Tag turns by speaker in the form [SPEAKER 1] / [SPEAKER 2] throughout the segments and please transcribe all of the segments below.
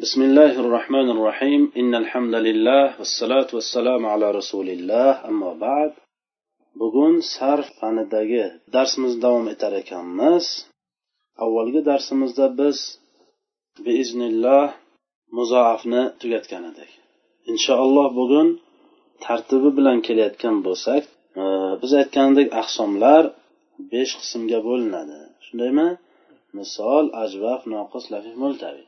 [SPEAKER 1] بسم الله الرحمن الرحيم إن الحمد لله والصلاة والسلام على رسول الله أما بعد bugun sarf fanidagi darsimizni davom etar ekanmiz avvalgi darsimizda biz beiznillah muzoafni tugatgan edik inshaalloh bugun tartibi bilan kelayotgan bo'lsak e, biz aytgandek ahsomlar besh qismga bo'linadi shundaymi misol ajvaf noqis lafif multavi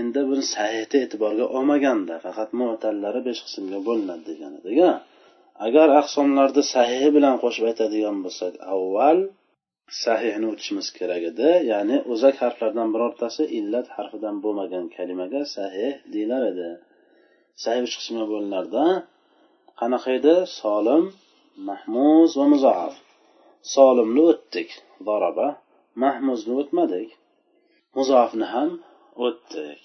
[SPEAKER 1] endi buni sahiyati e'tiborga olmaganda faqat mo'tallari besh qismga bo'linadi degan edik a agar ahsomlarni sahihi bilan qo'shib aytadigan bo'lsak avval sahihni o'tishimiz kerak edi ya'ni o'zak harflardan birortasi illat harfidan bo'lmagan kalimaga sahih deyilar edi sahih uch qismga bo'linardi qanaqa edi solim mahmuz va muzaaf solimni o'tdik zaraba mahmuzni o'tmadik muzaafni ham o'tdik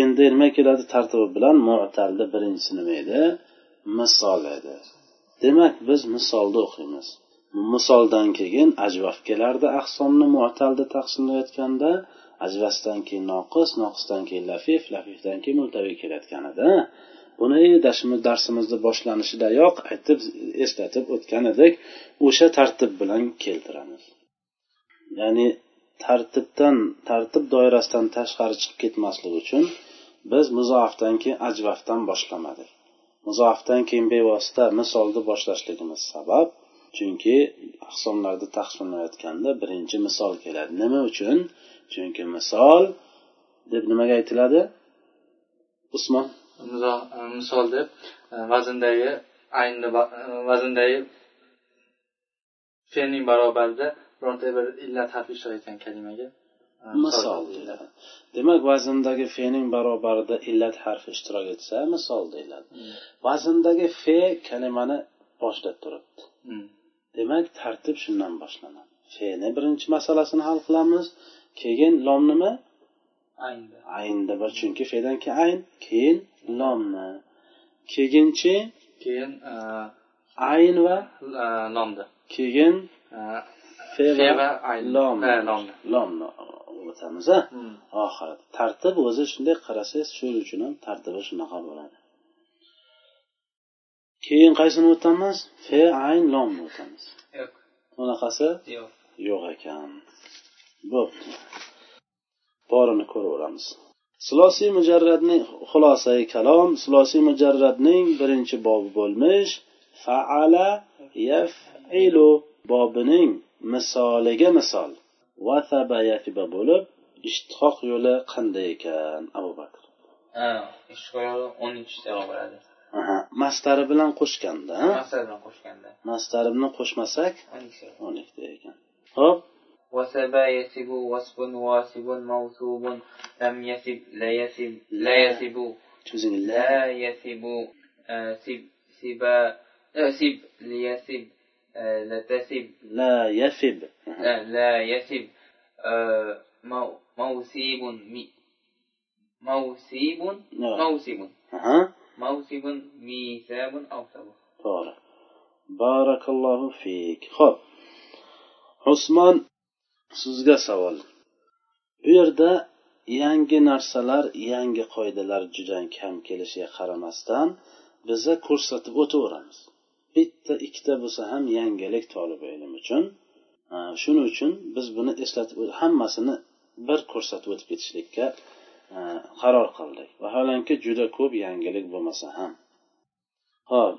[SPEAKER 1] endi nima keladi tartibi bilan mu'talni birinchisi nima edi misol edi demak biz misolni o'qiymiz misoldan keyin ajvaf kelardi ahsomni mu'talda taqsimlayotganda ajvasdan keyin noqis noqisdan keyin lafif lafifdan keyin multavi kelayotgan edi buni darsimizni boshlanishidayoq aytib eslatib o'tgan edik o'sha tartib bilan keltiramiz ya'ni tartibdan tartib doirasidan tashqari chiqib ketmasligi uchun biz muzoafdan keyin ajvafdan boshlamadik muzoafdan keyin bevosita misolni boshlashligimiz sabab chunki ahsomlarni taqsimlayotganda birinchi misol keladi nima uchun chunki misol deb nimaga aytiladi usmon
[SPEAKER 2] misol deb vazndagi aynni vazndagi fe'lning barobarida bironta bir illat harfi ishora etgan kalimaga e,
[SPEAKER 1] misol deyiladi demak vazndagi fening barobarida illat harfi ishtirok etsa misol deyiladi vazndagi fe kalimani boshda turibdi
[SPEAKER 2] Hmm.
[SPEAKER 1] demak tartib shundan boshlanadi feni birinchi masalasini hal qilamiz keyin lom nima aynda bor chunki fedan keyin ayn keyin lomni keyinchi
[SPEAKER 2] keyin e,
[SPEAKER 1] ayn va
[SPEAKER 2] lomda
[SPEAKER 1] keyin
[SPEAKER 2] E,
[SPEAKER 1] fe
[SPEAKER 2] fe
[SPEAKER 1] va
[SPEAKER 2] va ayn
[SPEAKER 1] lom eh,
[SPEAKER 2] ha, lomni
[SPEAKER 1] lomni o'tamiz a oxiri tartib o'zi shunday qarasangiz shuning uchun ham tartibi shunaqa bo'ladi keyin qaysini o'tamiz fe ayn lomni o'tamiz
[SPEAKER 2] yo'q
[SPEAKER 1] unaqasi
[SPEAKER 2] yo'q
[SPEAKER 1] yo'q ekan bo'pti borini ko'raveramiz silosiy mujarradning xulosai kalom silosiy mujarradning birinchi bobi bo'lmish faala yafilu bobining misoliga misol vasaba yasiba bo'lib ishtihoq yo'li qanday ekan abu bakr
[SPEAKER 3] ha ishqoyoli o'n ikkita bo'ladi
[SPEAKER 1] aha mastari bilan qo'shganda ha?
[SPEAKER 3] masal bilan qo'shganda
[SPEAKER 1] mastari bilan qo'shmasak
[SPEAKER 3] o'n ikkita
[SPEAKER 1] o'n ikkita ekan ho'p
[SPEAKER 3] وسبا يسب وسب واسب موثوب لم يسب لا يسب لا يسب
[SPEAKER 1] cho'zing la
[SPEAKER 3] لا يسب آه، سب سبا آه، سب ليسب آه، لتسب
[SPEAKER 1] la yasib Aha.
[SPEAKER 3] لا- لا يسب آه، مو- موسيب مي- موسيب
[SPEAKER 1] نعم.
[SPEAKER 3] موسيب
[SPEAKER 1] aha
[SPEAKER 3] موسيب ميثاب أوثب
[SPEAKER 1] to'g'ri barakallohu fik ho'p usmon sizga savol bu yerda yangi narsalar yangi qoidalar juda kam kelishiga qaramasdan biza ko'rsatib o'taveramiz bitta ikkita bo'lsa ham yangilik tolib ilm uchun Ha, shuning uchun biz buni eslatib o't- hammasini bir ko'rsatib o'tib ketishlikka e, qaror qildik vaholanki juda ko'p yangilik bo'lmasa ham ho'p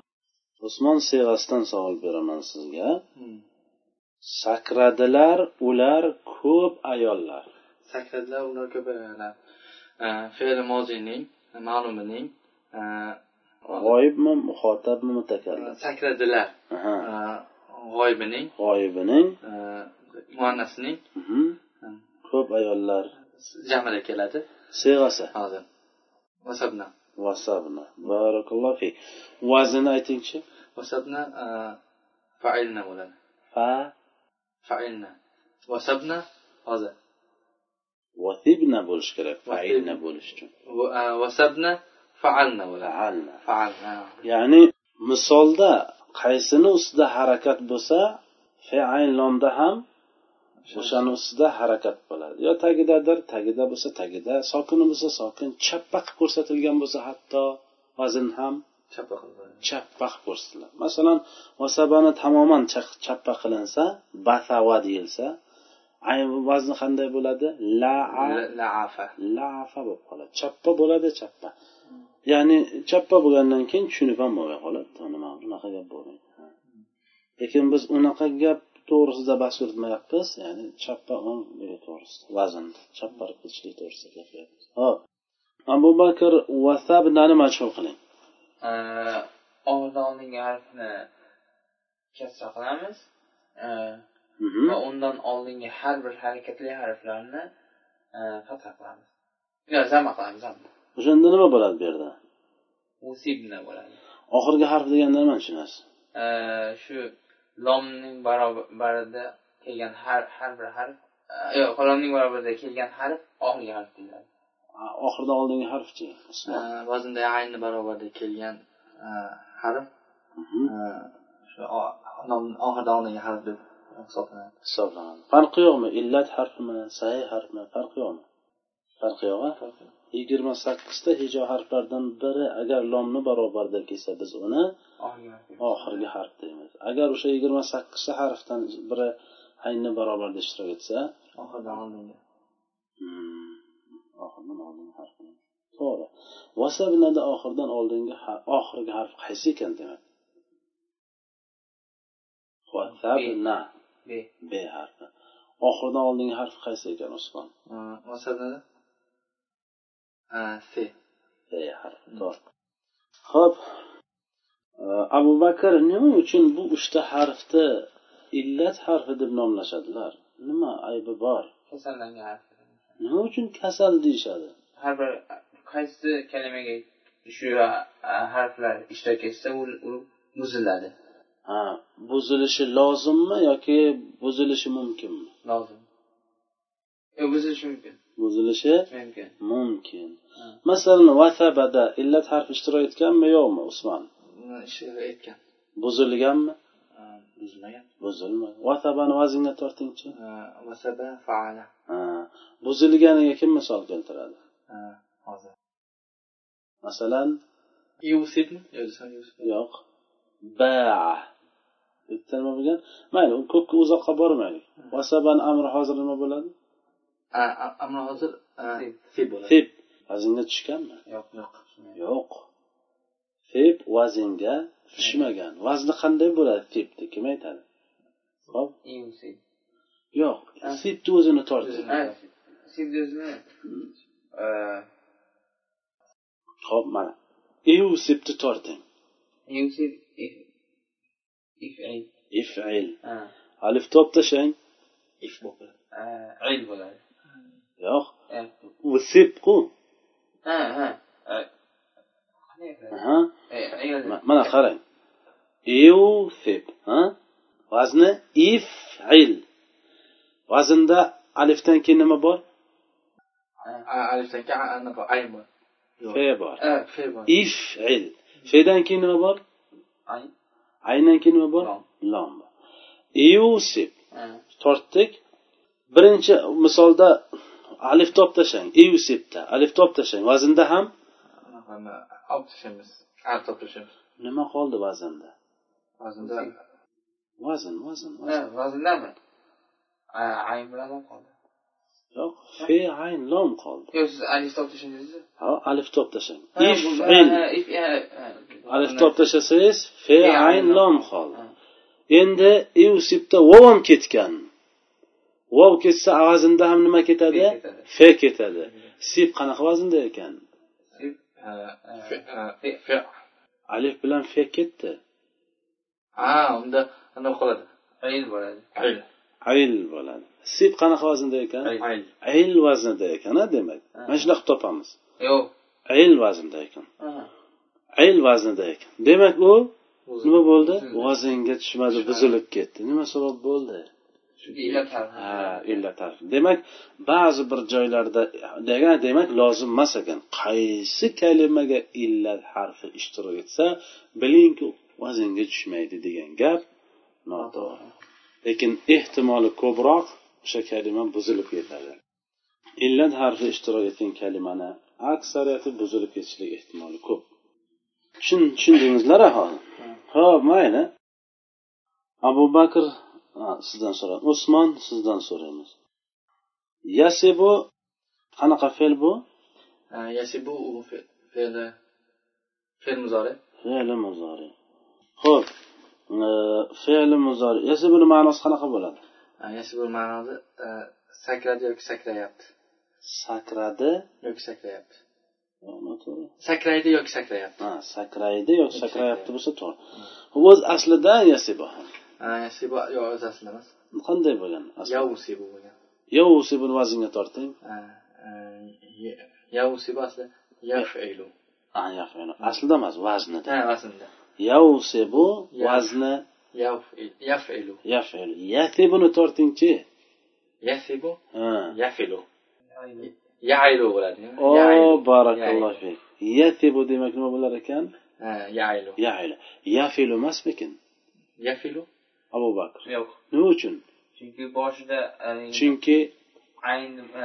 [SPEAKER 1] usmon siyg'asidan savol beraman sizga sakradilar ular ko'p ayollar
[SPEAKER 2] sakradilar ular ko'payganlar fe'li mozining ma'lumining e, آه،
[SPEAKER 1] g'oyibmi muxotabmi mutakallim
[SPEAKER 2] sakradilar
[SPEAKER 1] Aha,
[SPEAKER 2] e, g'oyibining
[SPEAKER 1] g'oyibining
[SPEAKER 2] e, muannasining
[SPEAKER 1] mhm,
[SPEAKER 2] آه،
[SPEAKER 1] ko'p ayollar
[SPEAKER 2] jamida keladi
[SPEAKER 1] siyg'asi
[SPEAKER 2] hozir vasabna
[SPEAKER 1] vasabni barakallohu fik vazni aytingchi
[SPEAKER 2] vasabna e, failna bo'ladi
[SPEAKER 1] fa
[SPEAKER 2] failna vasabna hozir
[SPEAKER 1] vasibna bo'lishi kerak failna bo'lishi uchun
[SPEAKER 2] Va- e, vasabna faalna bo'ladi
[SPEAKER 1] faalna
[SPEAKER 2] faalna
[SPEAKER 1] ya'ni misolda qaysini ustida harakat bo'lsa fe'ayn lomda ham o'shani ustida harakat bo'ladi yo tagidadir tagida bo'lsa tagida sokini bo'lsa sokin chappa qilib ko'rsatilgan bo'lsa hatto vazn ham
[SPEAKER 2] chapa qilib
[SPEAKER 1] chappa qilib ko'rsatiladi masalan vasabani tamoman cha- chappa qilinsa basava deyilsa ay- vazni qanday bo'ladi laa
[SPEAKER 2] laafa
[SPEAKER 1] lafa bo'lib qoladi chappa bo'ladi chappa ya'ni chappa bo'lgandan keyin tushunib ham bo'lmay qoladi "Bu nima unaqa gap bo'lmaydi Ha. lekin biz unaqa gap to'g'risida bahs yuritmayapmiz ya'ni chappa o'nligi to'g'risida vazn chapparib ketishlik to'g'risida gapiryapmiz hop abu bakr vasabnani majhul qiling
[SPEAKER 3] Eee, oldin olingan harfni kasra qilamiz Eee,
[SPEAKER 1] Mhm.
[SPEAKER 3] va undan oldingi har bir harakatli harflarni eee, fatha qilamiz yo zama qilamiz zama
[SPEAKER 1] o'shanda nima bo'ladi bu yerda
[SPEAKER 3] usibna bo'ladi
[SPEAKER 1] oxirgi harf deganda nimani tushunasiz
[SPEAKER 3] Eee, Э, shu lomning barobarida kelgan har har bir harf eee, yo'q lomning barobarida kelgan harf oxirgi harf deyiladi
[SPEAKER 1] A- oxirida oldingi harfchi Usmon.
[SPEAKER 2] vaznda ayni Э, barobarida kelgan eh, harf
[SPEAKER 1] Mhm.
[SPEAKER 2] eh, shu o- nom- oxirida olingan harf deb hisoblanadi
[SPEAKER 1] hisoblanadi farqi yo'qmi illat harfimi sahih harfmi farqi yo'qmi farqi yo'q a yigirma sakkizta hijo harflaridan biri agar lomni barobarida kelsa biz uni
[SPEAKER 3] oxirgi harf deyiladi.
[SPEAKER 1] oxirgi harf deymiz agar o'sha yigirma sakkizta harfdan biri hayni barobarida ishtirok etsa
[SPEAKER 2] oxirida olingan
[SPEAKER 1] hmm, oxiridan oldingi harf bo'ladi. to'g'ri vasabnada oxiridan oldingi har- oxirgi harf qaysi ekan demak vasabna
[SPEAKER 3] B.
[SPEAKER 1] b harfi oxiridan oldingi harf qaysi ekan usmon
[SPEAKER 2] Eh, vasabnada Eh, se
[SPEAKER 1] Ey harfi to'g'ri. Xo'p. e, Abu Bakr nima uchun bu uchta harfni illat harfi deb nomlashadilar? Nima aybi bor?
[SPEAKER 3] kasallangan harf
[SPEAKER 1] Nima uchun kasal deyishadi?
[SPEAKER 3] har bir qaysi kalimaga shu a, harflar ishtirok etsa u u buziladi
[SPEAKER 1] Ha, buzilishi lozimmi yoki buzilishi mumkinmi?
[SPEAKER 3] lozim yo'q buzilishi mumkin
[SPEAKER 1] Buzilishi
[SPEAKER 3] mumkin
[SPEAKER 1] mumkin.
[SPEAKER 3] Ha.
[SPEAKER 1] Masalan, vasabada illat harfi ishtirok etganmi yo'qmi Usmon?
[SPEAKER 2] uni ishtirok etgan
[SPEAKER 1] Buzilganmi?
[SPEAKER 2] Eh, buzilmagan
[SPEAKER 1] Buzilmagan. Vasabani vaznga tortingchi.
[SPEAKER 2] Eh, vasaba faala
[SPEAKER 1] Ha, buzilganiga kim misol keltiradi?
[SPEAKER 2] Eh, hozir
[SPEAKER 1] Masalan,
[SPEAKER 2] yusibmi yo desam yusib
[SPEAKER 1] yo'q baa bitta nima bo'lgan mayli u ko'pga uzoqqa bormaylik vasabani amri hozir nima bo'ladi
[SPEAKER 2] Eh, a- ammo hozir eh,
[SPEAKER 3] Sib.
[SPEAKER 2] se bo'ladi
[SPEAKER 1] fib vaznga tushganmi
[SPEAKER 3] yo'q
[SPEAKER 2] yo'q
[SPEAKER 1] yo'q fib vaznga tushmagan vazni qanday bo'ladi fibni kim aytadi Hop.
[SPEAKER 3] iusi
[SPEAKER 1] yo'q fibni o'zini torting
[SPEAKER 2] O'zini.
[SPEAKER 3] sibduzini
[SPEAKER 1] ho'p mana iu sibni torting
[SPEAKER 3] iusi ifil
[SPEAKER 1] ifil alif top tashlang
[SPEAKER 2] if bo'lib qoladi.
[SPEAKER 3] il bo'ladi
[SPEAKER 1] yo'q
[SPEAKER 3] Ha,
[SPEAKER 1] usib qu
[SPEAKER 3] ha ha Eh, qanday qiladi?
[SPEAKER 1] Aha.
[SPEAKER 3] Eh, il.
[SPEAKER 1] Ma- mana qarang iusib ha vazni ifil vaznda alifdan keyin nima bor
[SPEAKER 2] A- alifdan keyin a- anaqa ayn bor
[SPEAKER 1] fe bor
[SPEAKER 3] Eh,
[SPEAKER 2] fe bor
[SPEAKER 1] ifil fedan keyin nima bor
[SPEAKER 3] ay
[SPEAKER 1] ayndan keyin nima bor
[SPEAKER 3] Lom.
[SPEAKER 1] lom bor iusib
[SPEAKER 3] Ha,
[SPEAKER 1] tortdik birinchi misolda alif top tashlang iusibda alif top tashlang vaznda ham
[SPEAKER 2] anaqani olib tashlashimiz ar topib tashlashimiz
[SPEAKER 1] nima qoldi vaznda
[SPEAKER 2] hozirda
[SPEAKER 1] vazn vazn
[SPEAKER 3] ha,
[SPEAKER 1] vazn
[SPEAKER 3] vaznami Ah, ayn bilan ham qoldi
[SPEAKER 1] yo'q fe ayn lom qoldi
[SPEAKER 3] Yo'q, siz alif top tushundingizmi?
[SPEAKER 1] ha alif top tashlang
[SPEAKER 3] Ha, bu-
[SPEAKER 1] ifil
[SPEAKER 3] ha, if- ha, ha.
[SPEAKER 1] alif top tashlasangiz fe
[SPEAKER 3] Fe, ayn,
[SPEAKER 1] ayn lom
[SPEAKER 3] lom.
[SPEAKER 1] qoldi
[SPEAKER 3] Ha.
[SPEAKER 1] endi iusibda vov ham ketgan vov ketsa vaznda ham nima ketadi
[SPEAKER 3] Fe ketadi.
[SPEAKER 1] fe ketadi sib qanaqa vaznda ekan
[SPEAKER 3] Sib-
[SPEAKER 2] fe
[SPEAKER 3] Fe-
[SPEAKER 2] fe
[SPEAKER 1] alif bilan fe ketdi
[SPEAKER 2] a unda anaqa qoladi
[SPEAKER 3] ayl bo'ladi.
[SPEAKER 2] ayl
[SPEAKER 1] ayl bo'ladi sib qanaqa vaznda ekan
[SPEAKER 3] Ayl.
[SPEAKER 2] ayl
[SPEAKER 1] ayl vaznida ekan a demak mana shunaqa qilib topamiz
[SPEAKER 3] Yo'q.
[SPEAKER 1] ayl vaznda ekan
[SPEAKER 3] Aha.
[SPEAKER 1] ayl vaznida ekan demak u nima bo'ldi
[SPEAKER 3] Buzildi.
[SPEAKER 1] vaznga tushmadi buzilib ketdi nima sabab bo'ldi
[SPEAKER 3] Shu illat harfi.
[SPEAKER 1] ha illat harfi demak ba'zi bir joylarda degan demak lozim emas ekan qaysi kalimaga illat harfi ishtirok etsa bilingki vaznga tushmaydi degan gap noto'g'ri lekin ehtimoli ko'proq o'sha kalima buzilib ketadi illat harfi ishtirok etgan kalimani aksariyati buzilib ketishlik ehtimoli ko'p Tushun- tushundingizlar aholi ho'p mayli abu bakr ha, sizdan so'raydi usmon sizdan so'raymiz yasibu qanaqa fe'l bu
[SPEAKER 2] Yasibu u fe- fe'li fe'l muzori.
[SPEAKER 1] fe'li muzori ho'p eh, fe'li muzori yasibuni ma'nosi qanaqa bo'ladi
[SPEAKER 2] Ha, Yasibu ma'nosi e, sakradi yoki sakrayapti.
[SPEAKER 1] sakradi
[SPEAKER 2] Yoki sakrayapti.
[SPEAKER 1] yo, noto'g'ri.
[SPEAKER 2] Sakraydi yoki sakrayapti.
[SPEAKER 1] ha sakraydi yoki
[SPEAKER 2] Yoki
[SPEAKER 1] sakrayapti
[SPEAKER 2] sakrayapti.
[SPEAKER 1] bo'lsa to'g'ri o'z aslida yasibu
[SPEAKER 2] Ha, Yasibu yo o'z aslida emas.
[SPEAKER 1] qanday bo'lgan asli?
[SPEAKER 2] Yavusibu bo'lgan.
[SPEAKER 1] yovsibuni vaznga torting
[SPEAKER 2] Ha, e, ye- Yavusibu aslida yafilu.
[SPEAKER 1] Ha, yaf'alu. aslida emas vaznida
[SPEAKER 2] Ha, aslida.
[SPEAKER 1] yovsibu
[SPEAKER 2] Yaf.
[SPEAKER 1] vazni
[SPEAKER 2] Yaf- Yafilu.
[SPEAKER 1] yaf'alu. yasibuni tortingchi
[SPEAKER 2] Yasibu
[SPEAKER 1] ha
[SPEAKER 2] yafilu. Yailu bo'ladi.
[SPEAKER 1] o
[SPEAKER 2] Yailu.
[SPEAKER 1] barakalloh
[SPEAKER 2] Yailu.
[SPEAKER 1] fik yasibu demak nima bo'lar ekan
[SPEAKER 2] Ha, Yailu.
[SPEAKER 1] yail yafilu emasmikin
[SPEAKER 2] Yafilu.
[SPEAKER 1] abu bakr
[SPEAKER 3] yo'q
[SPEAKER 1] nima uchun
[SPEAKER 3] chunki boshida e,
[SPEAKER 1] chunki
[SPEAKER 3] ayn e,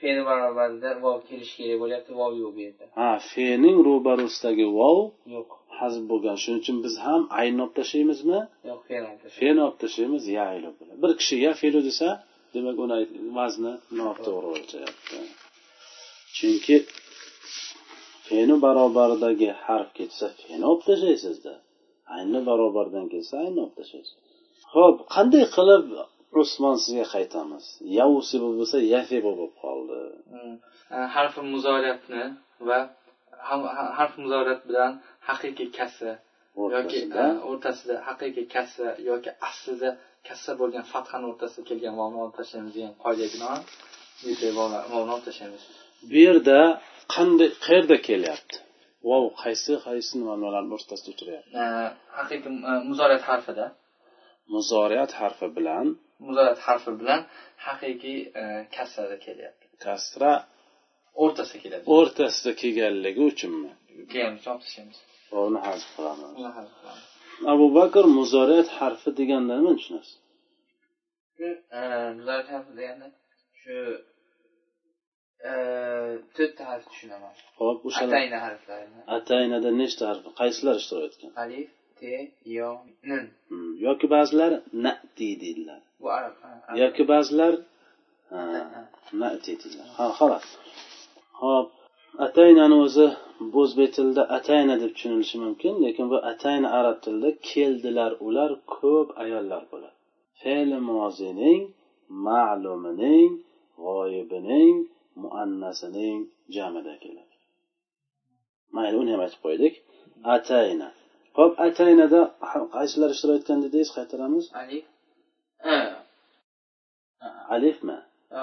[SPEAKER 3] fe'l barobarida vov kelishi kerak bo'lyapti vov yo'q bu yerda
[SPEAKER 1] ha fe'ning ro'barusidagi vov
[SPEAKER 3] yo'q
[SPEAKER 1] hazb bo'lgan shuning uchun biz ham aynni olib tashlaymizmi
[SPEAKER 3] yo'q fe'l aytish.
[SPEAKER 1] fe'ni olib tashlaymiz yailu bilan bir kishi yafilu desa demak uni ayt- vazni noto'g'ri o'lchayapti chunki fe'ni barobaridagi harf ketsa fe'ni olib tashlaysizda ayni barobardan kelsa ayni olib tashlaysiz ho'p qanday qilib usmon sizga qaytamiz yausibu bo'lsa yasibu bo'lib qoldi
[SPEAKER 2] Hmm. Ha, harfi muzoriyatni va ha- ha- harf muzoriyat bilan haqiqiy kassa yoki
[SPEAKER 1] o'rtasida
[SPEAKER 2] ha, o'rtasida haqiqiy kassa yoki aslida kassa bo'lgan fathani o'rtasida kelgan vovni olib tashlaymiz degan qoidaga binoan bunday vov- vovni olib tashlaymiz
[SPEAKER 1] bu yerda qanday qayerda kelyapti vov qaysi qaysi nimalarni o'rtasida turyapti
[SPEAKER 2] Ha, haqiqiy e, muzoriyat harfida
[SPEAKER 1] muzoriyat harfi bilan
[SPEAKER 2] muzoriyat harfi bilan haqiqiy e, kassada kelyapti
[SPEAKER 1] kasra
[SPEAKER 2] o'rtasida keladi
[SPEAKER 1] o'rtasida kelganligi uchunmi
[SPEAKER 2] kelgan uchun olib tashlaymiz
[SPEAKER 1] uni hazb qilamiz
[SPEAKER 2] Buni harf bilan.
[SPEAKER 1] abu bakr muzoriyat harfi deganda nimani tushunasiz
[SPEAKER 3] shu e, bular harfi deganda shu e, to'rtta harf tushunaman
[SPEAKER 1] hop o'shalar
[SPEAKER 3] atayna harflarini
[SPEAKER 1] ataynada nechta harf qaysilar ishtirok etgan
[SPEAKER 3] alif te yo nun
[SPEAKER 1] Hmm, yoki ba'zilar nati deydilar
[SPEAKER 3] bu arab ha, arab.
[SPEAKER 1] yoki ba'zilar ha, nati deydilar ha xolos hop ataynani o'zi o'zbek tilida atayna deb tushunilishi mumkin lekin bu atayna arab tilida keldilar ular ko'p ayollar bo'ladi fe'li mozining ma'lumining g'oyibining muannasining jamida keladi mayli uni ham aytib qo'ydik atayna hop ataynada ha- qaysilar ishtirok etgan dedingiz qaytaramiz
[SPEAKER 3] alif e,
[SPEAKER 1] alifmi
[SPEAKER 3] o,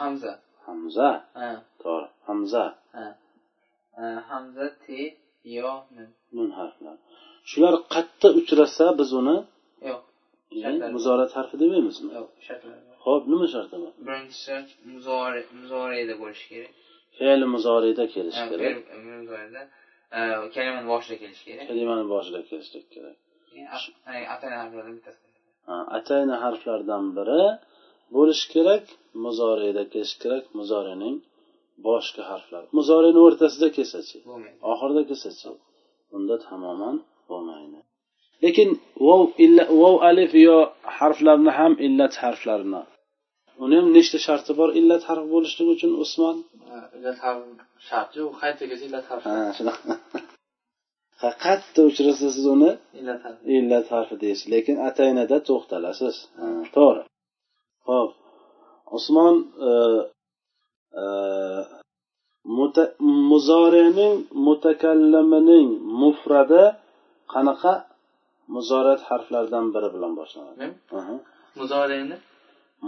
[SPEAKER 3] hamza
[SPEAKER 1] hamza
[SPEAKER 3] e,
[SPEAKER 1] to'g'ri hamza
[SPEAKER 3] e, e, hamza te yo nun
[SPEAKER 1] nun harflari shular qayerda uchrasa biz uni
[SPEAKER 3] yo'q
[SPEAKER 1] ya'ni
[SPEAKER 3] Shartlar.
[SPEAKER 1] muzorat harfi demaymizmi
[SPEAKER 3] yo'q shartlar bor.
[SPEAKER 1] ho'p nima sharti bor
[SPEAKER 3] birinchi shart muzori muzoriyada bo'lishi kerak
[SPEAKER 1] fe'li muzoriyda kelishi
[SPEAKER 3] Yani
[SPEAKER 1] kerak
[SPEAKER 3] bir- bir muzoriyada, e, kalimani boshida kelishi kerak
[SPEAKER 1] kalimani boshida kelishlik kerak
[SPEAKER 3] Yani at- yani atana harflardan bittasi
[SPEAKER 1] Ha, atayni harflardan biri bo'lishi kerak muzoriyda kelishi kerak muzorining boshqa harflari muzorini o'rtasida kelsachi
[SPEAKER 3] bo'lmaydi
[SPEAKER 1] oxirida kelsachi unda tamoman bo'lmaydi lekin vov illa- vov alif yo harflarni ham illat harflarini uni ham nechta sharti bor illat harfi bo'lishligi uchun usmon
[SPEAKER 2] Ha, illat harfi shartchi u qaytagacha illat harfi
[SPEAKER 1] Ha, shunaqa Ha, qayerda uchrasa siz uni
[SPEAKER 2] illat harfi
[SPEAKER 1] illat harfi deysiz lekin ataynada to'xtalasiz Ha, to'g'ri ho'p usmon e, e, muta- muzorining mutakallimining mufradi qanaqa muzorat harflaridan biri bilan boshlanadi
[SPEAKER 2] Men
[SPEAKER 1] Aha.
[SPEAKER 2] muzoriyni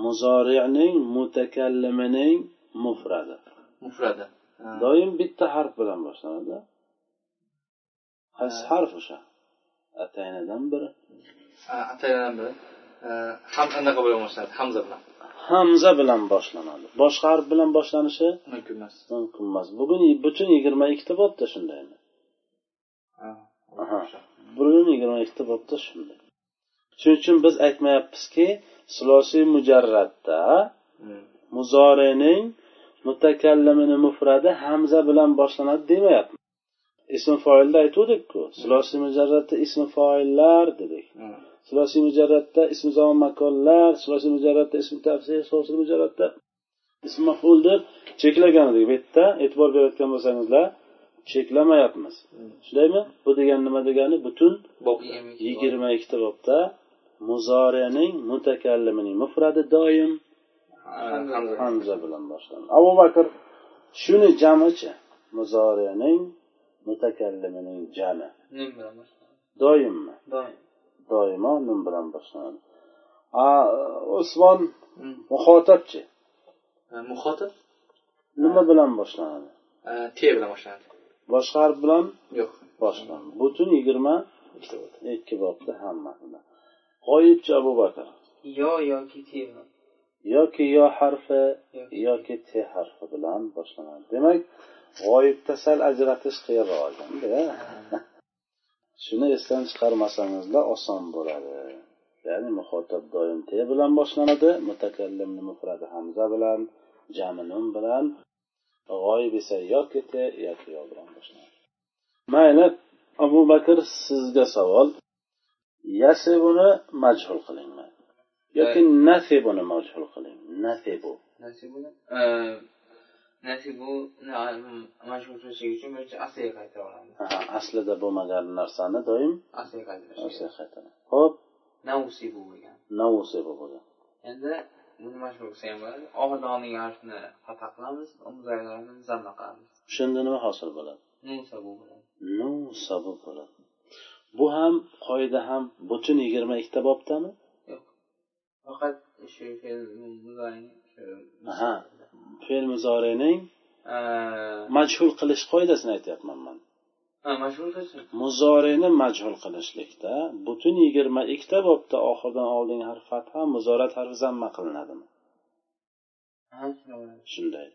[SPEAKER 1] muzorining mutakallimining mufradi
[SPEAKER 2] mufradi Ha,
[SPEAKER 1] doim bitta harf bilan boshlanadi qaysi
[SPEAKER 2] Ha.
[SPEAKER 1] harf o'sha ataynadan biri
[SPEAKER 2] a, ataylaridan biri A, ham anaqa bilan boshlanadi hamza bilan
[SPEAKER 1] hamza bilan boshlanadi boshqa harf bilan boshlanishi
[SPEAKER 2] mumkin emas
[SPEAKER 1] mumkin emas bugun butun yigirma ikkita bobda shundaymi
[SPEAKER 2] Ha,
[SPEAKER 1] Aha. butun yigirma ikkita bobda shunday shuning uchun biz aytmayapmizki silosiy mujarratda
[SPEAKER 2] Hmm,
[SPEAKER 1] muzorining mutakallimini mufradi hamza bilan boshlanadi demayapmiz ism foilda aytuvdikku silosiy mujarratda ism foillar dedik
[SPEAKER 2] hmm.
[SPEAKER 1] silosiy mujarratda ism zamon makonlar silosiy mujarratda ism tafsir silosiy mujarratda ism maful deb cheklagan edik bu yerda e'tibor berayotgan bo'lsangizlar cheklamayapmiz shundaymi bu degani nima degani butun yigirma ikkita bobda muzorining mutakallimining mufradi doim hamza bilan boshlanadi abu bakr shuni jamichi muzorining mutakallimining jami
[SPEAKER 3] Nim bilan boshlanadi.
[SPEAKER 1] doimmi
[SPEAKER 3] Doim.
[SPEAKER 1] doimo nun bilan boshlanadi a usmon muxotabchi
[SPEAKER 2] muxotib
[SPEAKER 1] nima bilan boshlanadi
[SPEAKER 2] te bilan boshlanadi
[SPEAKER 1] boshqa harf bilan
[SPEAKER 2] yo'q
[SPEAKER 1] boshlanadi butun yigirma
[SPEAKER 2] ikkita bo'ldi
[SPEAKER 1] ikki bobda hammasida g'oyibchi abu bakr
[SPEAKER 3] Yo yoki te bilan.
[SPEAKER 1] yoki yo harfi
[SPEAKER 3] Yoki.
[SPEAKER 1] yoki te harfi bilan boshlanadi demak g'oyibda sal ajratish qiyinroq ekanda shuni esdan chiqarmasangizlar oson bo'ladi ya'ni muxotab doim te bilan boshlanadi mutakallimni mufradi hamza bilan jami nun bilan g'oyib esa yoki te yoki yo bilan boshlanadi mayli abu bakr sizga savol yasibuni majhul qilingmi yoki nasibuni majhul qiling nasibu
[SPEAKER 3] Nasibu Eee, Nasibu na- mashhur qilishlik uchun birinchi asliga qaytara olamiz.
[SPEAKER 1] Aha, aslida bo'lmagan narsani doim
[SPEAKER 3] Asliga qaytarish.
[SPEAKER 1] o'sha qaytara ho'p
[SPEAKER 3] Nausibu bo'lgan.
[SPEAKER 1] nausibu bo'lgan
[SPEAKER 3] Endi buni mashhur qilsa ham bo'ladi. Oxirida olingan harfni fatha qilamiz, muzayyalarni zanna qilamiz.
[SPEAKER 1] shunda nima hosil bo'ladi
[SPEAKER 3] Nusabu bo'ladi.
[SPEAKER 1] nausabu bo'ladi bu ham qoida ham butun yigirma ikkita bobdami
[SPEAKER 3] Faqat shu fe'l muzayyan shu
[SPEAKER 1] aha fe'l muzorining
[SPEAKER 3] Eee,
[SPEAKER 1] majhul qilish qoidasini aytyapman man
[SPEAKER 3] ha, mashhur qilsin.
[SPEAKER 1] muzorini majhul qilishlikda butun yigirma ikkita bobda oxiridan oldingi harf fatha muzorat harfi zamma qilinadimi
[SPEAKER 3] Ha, shunday bo'ladi.
[SPEAKER 1] shunday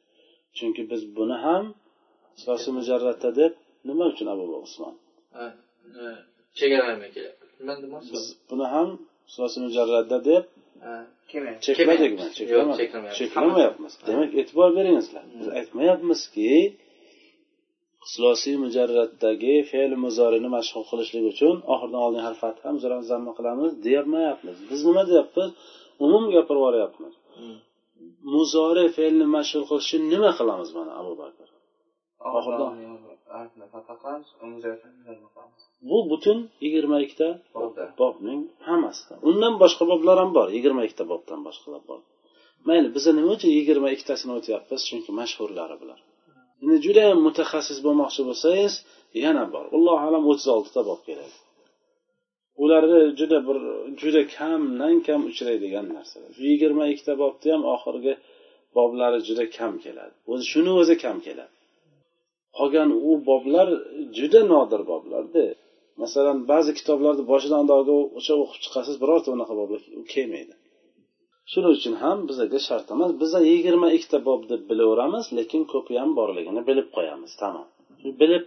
[SPEAKER 1] chunki biz buni ham siyosiy mujarratda deb nima uchun abu usmon
[SPEAKER 2] chegaralarga e, kelyapti nima demoqchi
[SPEAKER 1] biz buni ham siyosiy mujarratda deb
[SPEAKER 3] Kelmaydi.
[SPEAKER 1] chekladikmi
[SPEAKER 2] Yo'q,
[SPEAKER 1] Cheklamadik.
[SPEAKER 2] cheklamayapmiz.
[SPEAKER 1] cheklamayapmiz demak e'tibor beringizlar biz aytmayapmizki silosiy mujarratdagi fe'l muzorini mashhur qilishlik uchun oxiridan oldin harf fatha muzorani zamma qilamiz deyapmayapmiz biz nima deyapmiz umum gapirib yuboryapmiz muzori fe'lni mashhur qilish uchun nima qilamiz mana abu bakr
[SPEAKER 3] Oxirida
[SPEAKER 1] Oxirida-
[SPEAKER 3] olingan harfni fatha qilamiz, muzayyalarni zanna qilamiz.
[SPEAKER 1] bu butun yigirma ikkita
[SPEAKER 3] Bo'ldi.
[SPEAKER 1] bobning hammasida undan boshqa boblar ham bor yigirma ikkita bobdan boshqalar bor mayli biza nima uchun yigirma ikkitasini o'tyapmiz chunki mashhurlari bular endi judayam mutaxassis bo'lmoqchi bo'lsangiz yana bor allohu alam o'ttiz oltita bob keladi ularni juda bir juda kamdan kam uchraydigan narsalar shu yigirma ikkita bobni ham oxirgi boblari juda kam keladi o'zi shuni o'zi kam keladi qolgan u boblar juda nodir boblarda masalan ba'zi kitoblarni boshidan oxiriga o'sha o'qib chiqasiz birorta unaqa boblar kelmaydi shuning uchun ham bizaga shart emas biza yigirma ikkita bob deb bilaveramiz lekin ko'pi ham borligini bilib qo'yamiz tamom Shu bilib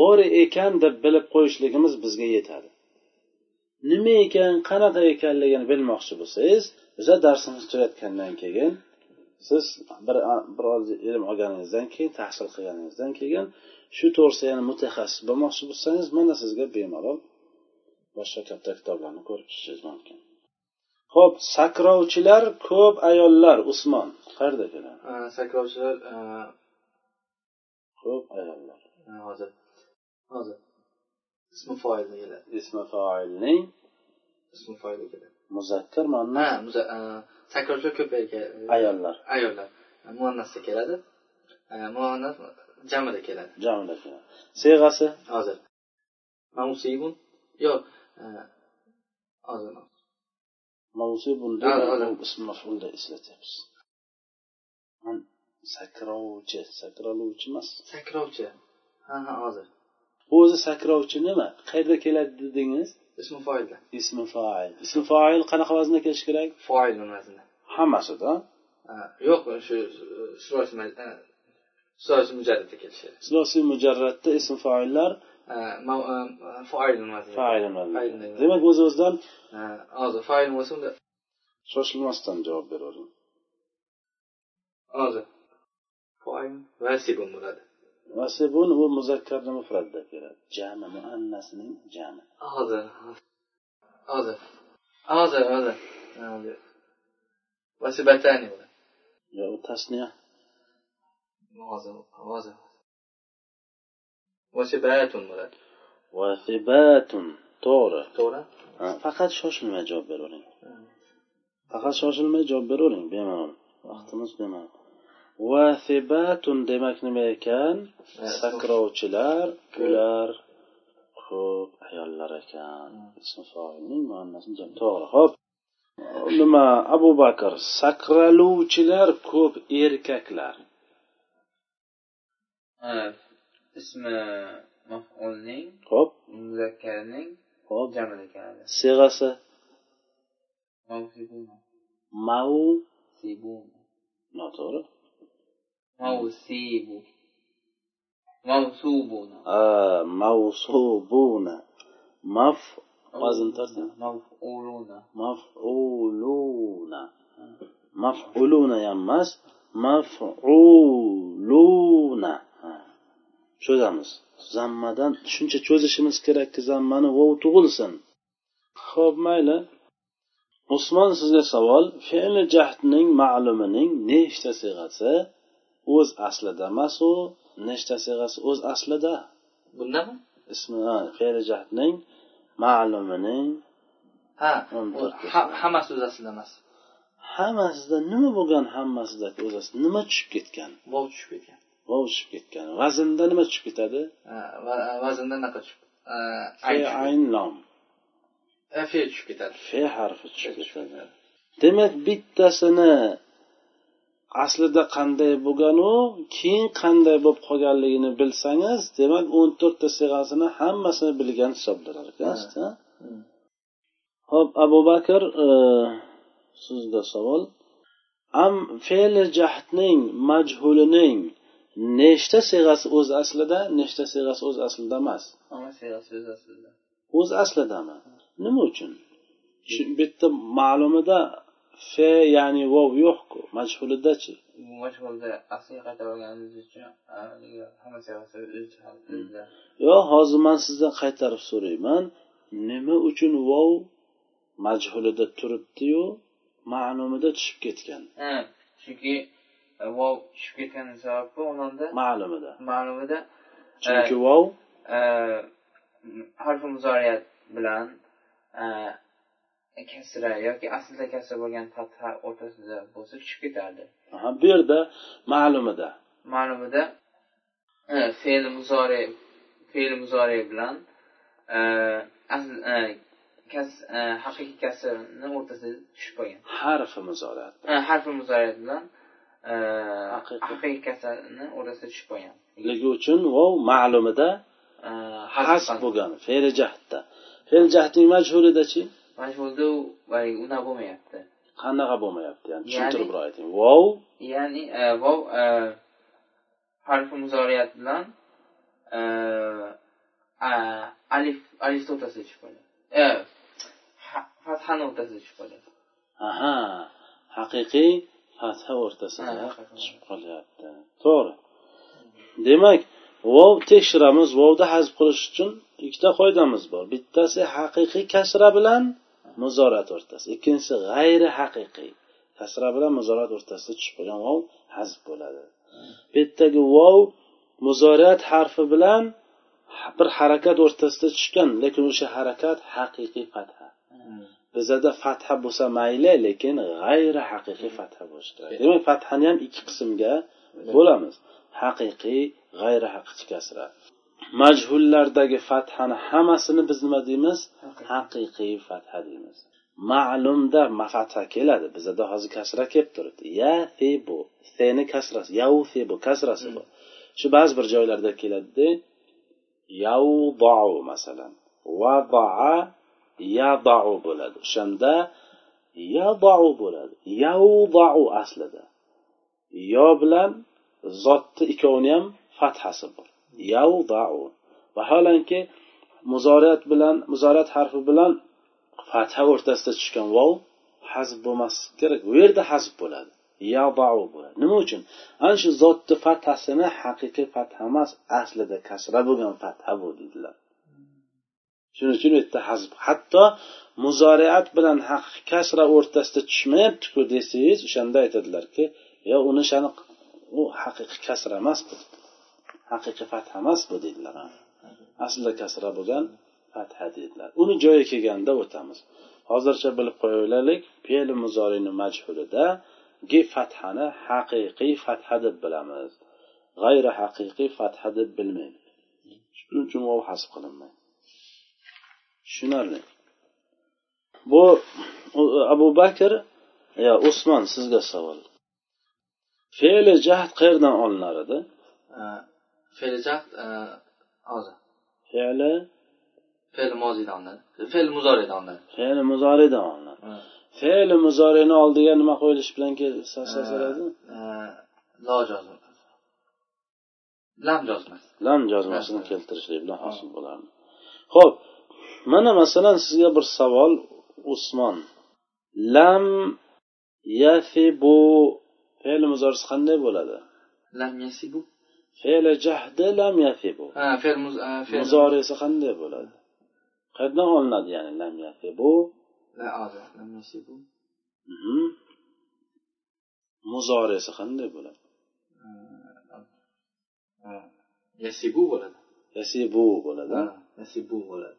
[SPEAKER 1] bor ekan deb bilib qo'yishligimiz bizga yetadi nima ekan qanaqa ekanligini bilmoqchi bo'lsangiz biza darsimiz tugatgandan keyin siz bir biroz ilm olganingizdan keyin tahsil qilganingizdan keyin shu to'g'risida yana mutaxassis bo'lmoqchi bo'lsangiz mana sizga bemalol boshqa katta kitoblarni ko'rib chiqishingiz mumkin ho'p sakrovchilar ko'p ayollar usmon qayerda keladi
[SPEAKER 2] e, sakrovchilar
[SPEAKER 1] ko'p ayollar
[SPEAKER 2] e, hozir hozir ismi foilda keladi
[SPEAKER 1] ismi foilning
[SPEAKER 2] ismi foilda keladi
[SPEAKER 1] muzakkar muannas
[SPEAKER 2] ha muza- e, sakrovchilar ko'payga
[SPEAKER 1] ayollar
[SPEAKER 2] ayollar e, muannasda keladi E, muannas jamida keladi
[SPEAKER 1] jamida keladi seg'asi
[SPEAKER 2] hozir mamusibun yo'q e, hozir
[SPEAKER 1] mavzu bunda
[SPEAKER 2] Ha, ha, ha.
[SPEAKER 1] ism mafulda eslatyapsiz Man sakrovchi sakraluvchi emas
[SPEAKER 2] sakrovchi ha ha hozir
[SPEAKER 1] o'zi sakrovchi nima qayerda keladi dedingiz
[SPEAKER 2] ismi foilda
[SPEAKER 1] ismi foil ismi foil qanaqa vaznda kelishi kerak
[SPEAKER 2] foil nimasidan
[SPEAKER 1] hammasida
[SPEAKER 2] Ha, şey, yo'q shu surosi surosi mujarratda kelishi
[SPEAKER 1] silosiy mujarratda ism foillar
[SPEAKER 2] mav- e, fail nimasi
[SPEAKER 1] fail
[SPEAKER 2] Fail.
[SPEAKER 1] nima demak o'z o'zidan
[SPEAKER 2] Ha, hozir fail bo'lsa unda
[SPEAKER 1] shoshilmasdan javob beravering
[SPEAKER 2] hozir fail vasibun bo'ladi
[SPEAKER 1] vasibun u muzakkarni mufratda keladi jami muannasning jami
[SPEAKER 2] hozir hozir hozir hozir hozir vasibatani bo'ladi
[SPEAKER 1] yo u tasniya
[SPEAKER 2] hozir hozir vasibatun bo'ladi
[SPEAKER 1] vasibatun to'g'ri
[SPEAKER 2] to'g'ri
[SPEAKER 1] Ha, faqat shoshilmay javob beravering faqat shoshilmay javob beravering bemalol vaqtimiz bemalol vasibatun demak nima ekan sakrovchilar ular ko'p ayollar ekan ismi foilning muannasi jam to'g'ri ho'p nima abu bakr sakraluvchilar ko'p erkaklar
[SPEAKER 3] Ha, ismi maf'ulning
[SPEAKER 1] ho'p
[SPEAKER 3] muzakkarining
[SPEAKER 1] ho'p
[SPEAKER 3] jamida keladi
[SPEAKER 1] seg'asi
[SPEAKER 3] Mavsibuna.
[SPEAKER 1] mau
[SPEAKER 3] Sibuna.
[SPEAKER 1] noto'g'ri
[SPEAKER 3] Mavsibu. Mavsubuna.
[SPEAKER 1] آه، موصوبون مف وزن ترتيب
[SPEAKER 3] Mavuluna.
[SPEAKER 1] مفعولون مفعولون يا مس مفعولون آه. cho'zamiz zammadan shuncha cho'zishimiz kerakki zammani vov tug'ilsin ho'p mayli usmon sizga savol fe'li jahdning ma'lumining nechta siyg'asi o'z aslida emas u nechta siyg'asi o'z aslida
[SPEAKER 2] bundami
[SPEAKER 1] ismi ha, fe'li jahdning ma'lumining
[SPEAKER 2] ha
[SPEAKER 1] o'n
[SPEAKER 2] u
[SPEAKER 1] to'rtta.
[SPEAKER 2] ha- hammasi o'z aslida emas
[SPEAKER 1] hammasida nima bo'lgan hammasida o'zasi nima tushib ketgan
[SPEAKER 2] vov tushib ketgan
[SPEAKER 1] vov tushib ketgan vaznda nima tushib ketadi
[SPEAKER 2] Ha, va- vazndan naqa tushib Ha, ayn
[SPEAKER 1] fe
[SPEAKER 2] tushib
[SPEAKER 1] ayn lom
[SPEAKER 2] ketadi. Ha, fe'l tushib ketadi
[SPEAKER 1] fe harfi tushib ketadi demak bittasini aslida qanday bo'lganu keyin qanday bo'lib qolganligini bilsangiz demak o'n to'rtta siyg'asini hammasini bilgan hisoblanar ekansiz ha?
[SPEAKER 2] Hmm.
[SPEAKER 1] ho'p abu bakr e, sizda savol am fe'li jahdning majhulining nechta siyg'asi o'z aslida nechta siyg'asi o'z aslida emas
[SPEAKER 3] Ama siyg'asi o'z aslida.
[SPEAKER 1] o'z aslidami nima uchun Shu- bu yerda ma'lumida fe ya'ni vov yo'qku majhulidachi
[SPEAKER 3] Bu mashg'ulda asli qaytarganimiz uchun ha, hamma siyg'asi o'z aslida.
[SPEAKER 1] yo hozir man sizdan qaytarib so'rayman nima uchun vov majhulida turibdiyu ma'lumida tushib ketgan
[SPEAKER 3] Ha, chunki e, vov tushib ketgani sababli undan
[SPEAKER 1] ma'lumida
[SPEAKER 3] ma'lumida
[SPEAKER 1] chunki vov
[SPEAKER 3] eh, harfi muzoriyat bilan eh, kasra yoki aslida kasra bo'lgan fatha o'rtasida bo'lsa tushib ketardi
[SPEAKER 1] aha, bu yerda ma'lumida
[SPEAKER 3] ma'lumida eh, fe'l muzori fe'l muzori bilan eh, asl eh, kas eh, haqiqiy kasrni o'rtasida tushib qolgan
[SPEAKER 1] harfi muzorat
[SPEAKER 3] Eh, harfi muzoriyat bilan eh,
[SPEAKER 1] Haqiqiy.
[SPEAKER 3] haqiqiy kasrni o'rtasida tushib qolgan
[SPEAKER 1] ligi uchun vov ma'lumida
[SPEAKER 3] Eh,
[SPEAKER 1] hasb
[SPEAKER 3] qilgan.
[SPEAKER 1] bo'lgan fe'li jahdda fe'li jahdning majhulidachi
[SPEAKER 3] mana shu yerda u ay, unaqa bo'lmayapti
[SPEAKER 1] qanaqa bo'lmayapti yani
[SPEAKER 3] Ya'ni-
[SPEAKER 1] tushuntirib bir ayting vov
[SPEAKER 3] ya'ni e, vov e, harfi muzoriyat bilan e, a, alif alif o'rtasiga tushib qoladi E, ha- fathani o'rtasiga tushib qoladi
[SPEAKER 1] aha haqiqiy fatha o'rtasida
[SPEAKER 3] Ha,
[SPEAKER 1] tushib qolyapti to'g'ri demak vov tekshiramiz vovda hazb qilish uchun ikkita qoidamiz bor bittasi haqiqiy kasra bilan muzorat o'rtasi ikkinchisi g'ayri haqiqiy kasra bilan muzorat o'rtasida tushib qolgan vov hazb bo'ladi bu yerdagi vov muzorat harfi bilan ha- bir harakat o'rtasida tushgan lekin o'sha harakat haqiqiy fatha bizada fatha bo'lsa mayli lekin g'ayri haqiqiy fatha bo'lishi kerak demak fathani ham ikki qismga bo'lamiz haqiqiy g'ayri haqiqiy kasra majhullardagi fathani hammasini biz nima deymiz haqiqiy fatha deymiz ma'lumda ma fatha keladi bizada hozir kasra kelib turibdi yasibu seni kasrasi yausibu kasrasi bor shu ba'zi bir joylarda keladida yavdau masalan vadaa yadau bo'ladi o'shanda yadau bo'ladi yavdau aslida yo bilan zotni ikkovini ham fathasi bor yavdau vaholanki muzoriyat bilan muzorat harfi bilan fatha o'rtasida tushgan vov hazb bo'lmasligi kerak bu yerda hazb bo'ladi yadau bo'ladi nima uchun ana shu zotni fathasini haqiqiy fatha emas aslida kasra bo'lgan fatha bu dedilar shuning uchun u yerda hazb hatto muzoriat bilan kasra o'rtasida tushmayaptiku desangiz o'shanda aytadilarki yo uni shani u haqiqiy kasra emas bu haqiqiy fatha emas bu deydilar aslida kasra bo'lgan fatha deydilar uni joyi kelganda o'tamiz hozircha bilib qo'yaveraylik fe'li muzorini majhulida gi fathani haqiqiy fatha deb bilamiz g'ayri haqiqiy fatha deb bilmaymiz shuning uchun vov hasb qilinmaydi tushunarli bu abu bakr yo usmon sizga savol fe'li jahd qayerdan olinar edi
[SPEAKER 2] fe'li jahd hozir
[SPEAKER 1] fe'li
[SPEAKER 2] fe'l moziydan olinadi fe'l muzoridan olinadi
[SPEAKER 1] fe'li muzoridan olinadi fe'li muzorini oldiga nima qo'yilishi bilan keladi
[SPEAKER 2] lo jozmasi lam jozmasi
[SPEAKER 1] lam jozmasini keltirishlik bilan hosil bo'lardi ho'p mana masalan sizga bir savol usmon lam yasibu fe'li muzorisi qanday bo'ladi
[SPEAKER 2] lam yasibu
[SPEAKER 1] fe'li jahdi lam yasibu
[SPEAKER 2] ha fe'l muz ha, fe'l
[SPEAKER 1] muzori esa qanday bo'ladi qayerdan olinadi ya'ni lam yasibu
[SPEAKER 2] la hozir lam yasibu
[SPEAKER 1] Mhm. muzori esa qanday bo'ladi
[SPEAKER 2] ha, yasibu bo'ladi
[SPEAKER 1] yasibu bo'ladi
[SPEAKER 2] Ha,
[SPEAKER 1] a?
[SPEAKER 2] yasibu bo'ladi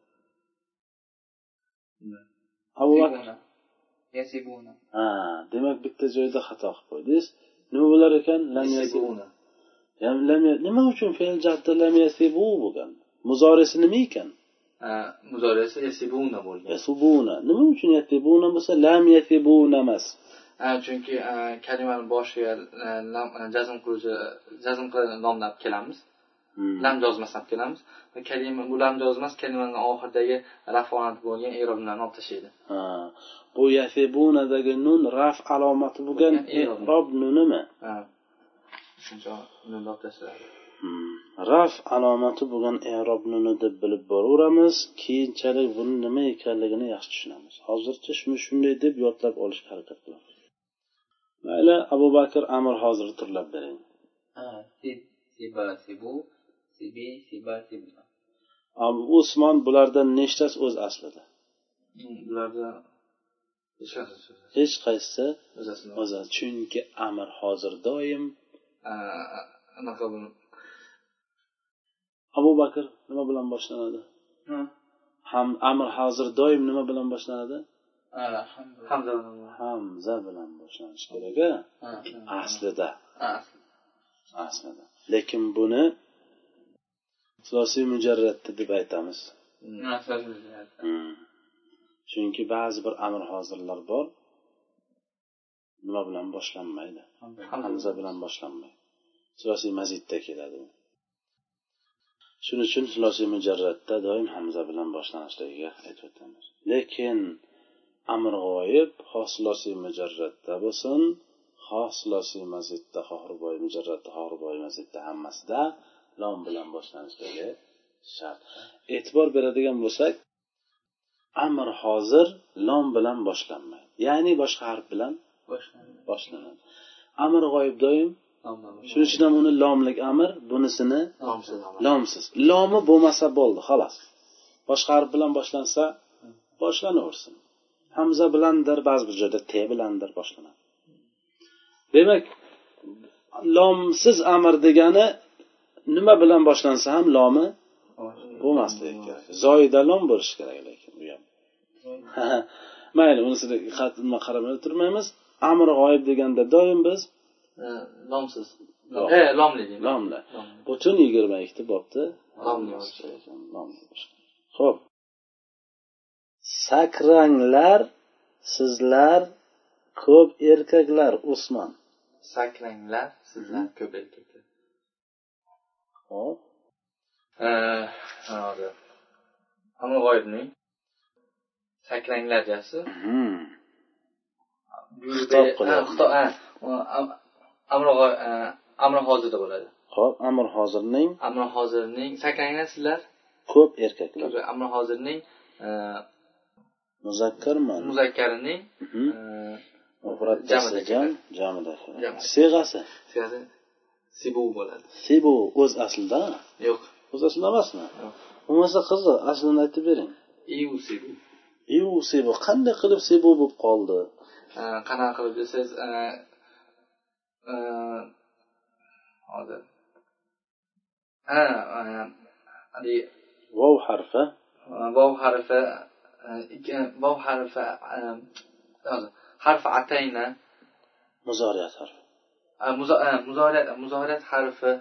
[SPEAKER 1] abu bakr
[SPEAKER 3] Yasibuna. Yasibuna.
[SPEAKER 1] ha demak bitta joyda xato qilib qo'ydingiz nima bo'lar ekan lam yasibu
[SPEAKER 2] yasibuna
[SPEAKER 1] Ya'ni lam ya- nima uchun fe'l jahda lam yasibu bo'lgan muzorisi nima ekan
[SPEAKER 2] Ha, muzorisi yasibuna bo'lgan
[SPEAKER 1] yasubuna nima uchun yasibuna bo'lsa lam yasibuna emas
[SPEAKER 2] Ha, chunki eh, kalimani boshiga eh, lam eh, jazm qiluvchi jazm qiladigan nomni olib kelamiz
[SPEAKER 1] Hmm.
[SPEAKER 2] lam jozmasini olib kelamiz va kalima bu lam jozmas kalimani oxiridagi rafonat bo'lgan eroblarni olib tashlaydi
[SPEAKER 1] Ha, bu yasibunadagi nun raf alomati bo'lgan
[SPEAKER 2] Bo'lgan irob.
[SPEAKER 1] irob nunimi
[SPEAKER 2] Ha. Eh, shuncha nunni olib tashladi
[SPEAKER 1] Hmm. raf alomati bo'lgan erob nuni deb bilib boraveramiz keyinchalik buni nima ekanligini yaxshi tushunamiz hozircha shuni shunday deb yodlab olishga harakat qilamiz mayli abu bakr amir hozir turlab bering
[SPEAKER 3] Ha, sib- Siba, sibu, sibi, siba, sibuna.
[SPEAKER 1] abu usmon bulardan nechtasi o'z aslida
[SPEAKER 2] bularda hech qaysi so'z
[SPEAKER 1] hech qaysisi
[SPEAKER 2] o'zasini
[SPEAKER 1] o'zi chunki amir hozir doim
[SPEAKER 2] eh, anaqa buni
[SPEAKER 1] abu bakr nima bilan boshlanadi
[SPEAKER 3] Ha.
[SPEAKER 1] ham amir hozir doim nima bilan boshlanadi
[SPEAKER 3] Alhamdulillah.
[SPEAKER 2] hamza
[SPEAKER 1] hamza bilan boshlanishi kerak a
[SPEAKER 3] Ha.
[SPEAKER 1] aslida
[SPEAKER 3] Ha.
[SPEAKER 1] aslida lekin buni silosiy mujarratdi deb aytamiz
[SPEAKER 3] Ha, so'zlar.
[SPEAKER 1] chunki ba'zi bir amr hozirlar bor nima bilan boshlanmaydi hamza bilan boshlanmaydi silosiy mazidda keladi u shuning uchun silosiy mujarratda doim hamza bilan boshlanishligiga aytib o'tamiz lekin amr g'oyib ho silosiy mujarratda bo'lsin ho silosiy mazidda ho ruboiy mujarratda ho ruboiy mazidda hammasida lom bilan boshlanishligi shart e'tibor beradigan bo'lsak amr hozir lom bilan boshlanmaydi ya'ni boshqa harf bilan
[SPEAKER 3] Boshlanadi.
[SPEAKER 1] boshlanadi amr g'oyib doim
[SPEAKER 3] Tamom.
[SPEAKER 1] shuning uchun ham uni lomlik amr bunisini
[SPEAKER 2] nomsiz nomsiz
[SPEAKER 1] lomsiz lomi bo'lmasa bo'ldi xolos boshqa harf bilan boshlansa boshlanaversin hamza bilandir ba'zi bir joyda te bilandir boshlanadi demak lomsiz amr degani nima bilan boshlansa ham lomi bo'lmasligi kerak zoida lom bo'lishi kerak lekin u ham mayli unisini qat- nima qaramay turmaymiz amr g'oyib deganda doim biz
[SPEAKER 2] Eh, nomsiz
[SPEAKER 1] Lom.
[SPEAKER 2] he lomli deydi
[SPEAKER 1] lomla
[SPEAKER 2] Lom.
[SPEAKER 1] butun yigirma ikkita bobda
[SPEAKER 2] Lom
[SPEAKER 1] Lom
[SPEAKER 2] yozish kerak.
[SPEAKER 1] lom yozish kerak. ho'p sakranglar sizlar ko'p erkaklar usmon
[SPEAKER 2] sakranglar sizlar ko'p erkaklar
[SPEAKER 1] hop
[SPEAKER 2] Eh, anavi amir g'oyibning sakranglar jasi
[SPEAKER 1] Hmm. Xitob qiladi.
[SPEAKER 2] amir g'oy- eh, amir e, hozirda bo'ladi
[SPEAKER 1] hop amir hozirning
[SPEAKER 2] amir hozirning sakranglar sizlar
[SPEAKER 1] ko'p erkaklar
[SPEAKER 2] To'g'ri, ammo hozirning e,
[SPEAKER 1] muzakkarman
[SPEAKER 2] muzakkarining
[SPEAKER 1] Mhm.
[SPEAKER 2] e,
[SPEAKER 1] mufrattasi
[SPEAKER 2] Jamida
[SPEAKER 1] jam
[SPEAKER 2] keladi.
[SPEAKER 1] jamida
[SPEAKER 2] Jamida.
[SPEAKER 1] seg'asi
[SPEAKER 2] siyasi sibu bo'ladi
[SPEAKER 1] si bu o'z aslida
[SPEAKER 2] yo'q
[SPEAKER 1] o'z aslida emasmi
[SPEAKER 2] Yo'q.
[SPEAKER 1] bo'lmasa qiziq aslini aytib bering
[SPEAKER 2] iu sibu
[SPEAKER 1] iu sebu qanday qilib sebu bo'lib qoldi
[SPEAKER 2] E, qanaqa qilib desangiz e, e, hozir ha e, haligi
[SPEAKER 1] vov harfi
[SPEAKER 2] vov harfi e, ikki vov harfi e, hozir harfi atayna
[SPEAKER 1] muzoriyat harfi
[SPEAKER 2] e, muzo- e, muzorat muzorat harfi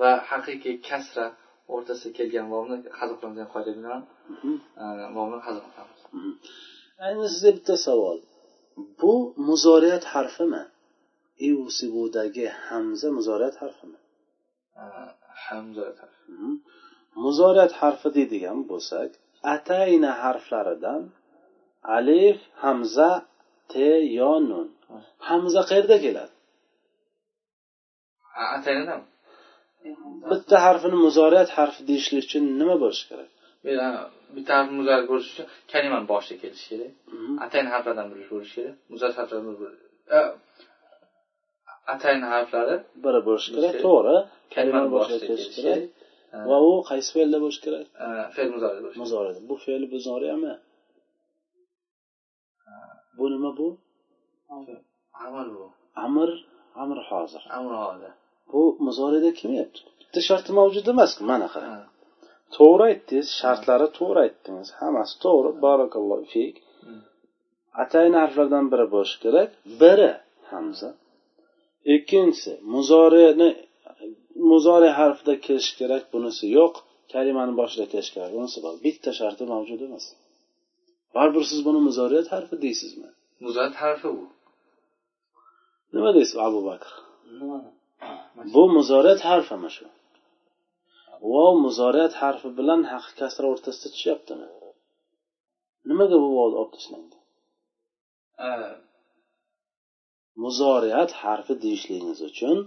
[SPEAKER 2] va haqiqiy kasra o'rtasida kelgan vovni hazil qilamiz degan qoida bilan
[SPEAKER 1] Mhm.
[SPEAKER 2] e, vovni hazil qilamiz
[SPEAKER 1] ayni sizga bitta savol bu muzoriyat harfimi iu sebudagi hamza muzoriyat harfimi
[SPEAKER 2] E, ha, muzorat harfi.
[SPEAKER 1] Mhm. muzoriyat harfi deydigan bo'lsak atayna harflaridan alif hamza te yo nun hamza qayerda keladi
[SPEAKER 2] A- ataynadan
[SPEAKER 1] bitta harfini muzoriyat harfi deyishlik uchun nima bo'lishi kerak
[SPEAKER 2] bir e, bitta harf muzorat bo'lishi uchun kalimani boshida kelishi kerak
[SPEAKER 1] Mhm.
[SPEAKER 2] atayin harflardan biri bo'lishi kerak muzorat harflardan biri e, atayin harflari
[SPEAKER 1] biri bo'lishi kerak
[SPEAKER 2] Bo'lishi kerak.
[SPEAKER 1] to'g'ri
[SPEAKER 2] kalimani
[SPEAKER 1] kalimani
[SPEAKER 2] boshida
[SPEAKER 1] boshida
[SPEAKER 2] kelishi
[SPEAKER 1] kelishi
[SPEAKER 2] kerak
[SPEAKER 1] kerak
[SPEAKER 2] E,
[SPEAKER 1] va u qaysi fe'lda bo'lishi kerak
[SPEAKER 2] e, fe'l muzorat bo'lishi kerak.
[SPEAKER 1] muzoriyat bu fe'l muzoriyami bu nima bu
[SPEAKER 2] amal bu
[SPEAKER 1] amr amr hozir
[SPEAKER 2] amr hozir
[SPEAKER 1] bu muzoriyada kelmayapti bitta sharti mavjud emasku mana qarang
[SPEAKER 2] Ha.
[SPEAKER 1] to'g'ri aytdingiz shartlari to'g'ri aytdingiz hammasi to'g'ri barakallohu fik
[SPEAKER 2] Hı.
[SPEAKER 1] atayin harflardan biri bo'lishi kerak biri hamza ikkinchisi muzorini muzori harfida kelishi kerak bunisi yo'q kalimani boshida kelishi kerak bunisi bor bitta sharti mavjud emas baribir siz buni muzoriyat harfi deysizmi
[SPEAKER 2] muzorat harfi bu
[SPEAKER 1] nima deysiz abu bakr
[SPEAKER 3] nimani
[SPEAKER 1] bu muzoriyat harfimi shu vov muzoriyat harfi bilan haqi kasra o'rtasida tushyaptimi nimaga bu vov olib tashlandi
[SPEAKER 3] Э,
[SPEAKER 1] muzoriyat harfi deyishligingiz uchun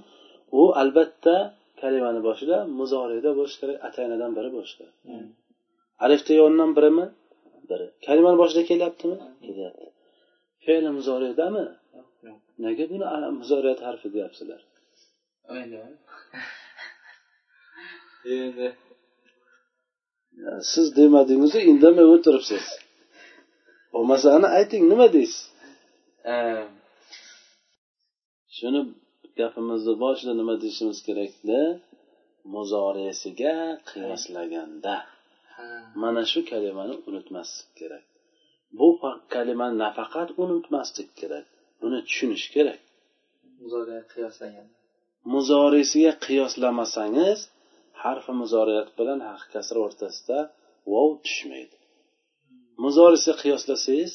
[SPEAKER 1] u albatta kalimani boshida muzoriyda bo'lishi kerak ataynadan biri bo'lishi kerak alifda yondan birimi biri kalimani boshida kelyaptimi kelyapti fe'li muzoridami
[SPEAKER 2] Yo'q.
[SPEAKER 1] nega buni a, muzoriyat harfi deyapsizlar
[SPEAKER 3] endi
[SPEAKER 2] endi
[SPEAKER 1] Ya, siz demadingizu indamay o'tiribsiz bo'lmasa ana ayting nima deysiz
[SPEAKER 3] э,
[SPEAKER 1] shuni gapimizni boshida nima deyishimiz kerakda muzoriyasiga qiyoslaganda
[SPEAKER 2] ha
[SPEAKER 1] mana shu kalimani unutmaslik kerak bu fa- kalimani nafaqat unutmaslik kerak buni tushunish kerak
[SPEAKER 2] muzorat qiyoslangan
[SPEAKER 1] muzorisiga qiyoslamasangiz harfi muzoriyat bilan harf kasra o'rtasida vov tushmaydi muzorisiga qiyoslasangiz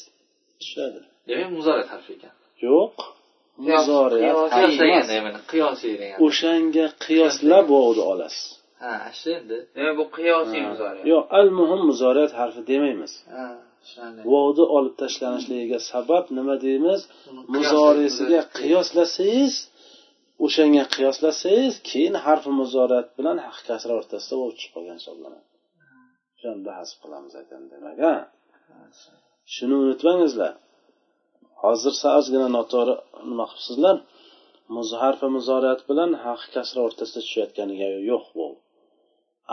[SPEAKER 1] tushadi
[SPEAKER 2] demak muzorat harfi ekan
[SPEAKER 1] yo'q
[SPEAKER 3] Qiyos-
[SPEAKER 1] muzoriyat
[SPEAKER 3] qiyos-
[SPEAKER 1] harfi
[SPEAKER 2] qiyoslagan
[SPEAKER 1] emas.
[SPEAKER 2] demak qiyosiy degan
[SPEAKER 1] o'shanga qiyoslab vovni olasiz
[SPEAKER 2] ha shu endi
[SPEAKER 3] Э, bu qiyosiy muzoriyat
[SPEAKER 1] yo'q al muhim muzoriyat harfi demaymiz
[SPEAKER 2] ha tushunarli
[SPEAKER 1] vovni olib tashlanishligiga sabab nima deymiz muzorisiga qiyoslasangiz o'shanga qiyoslasangiz keyin harfi muzoriyat bilan harf kasra o'rtasida vov tushib qolgan hisoblanadi o'shanda hasb qilamiz ekan demak a shuni unutmangizlar hozir sal ozgina noto'g'ri nima qilibsizlar muz harfi muzoriyat bilan haqi kasra o'rtasida tushayotganiga yo'q bu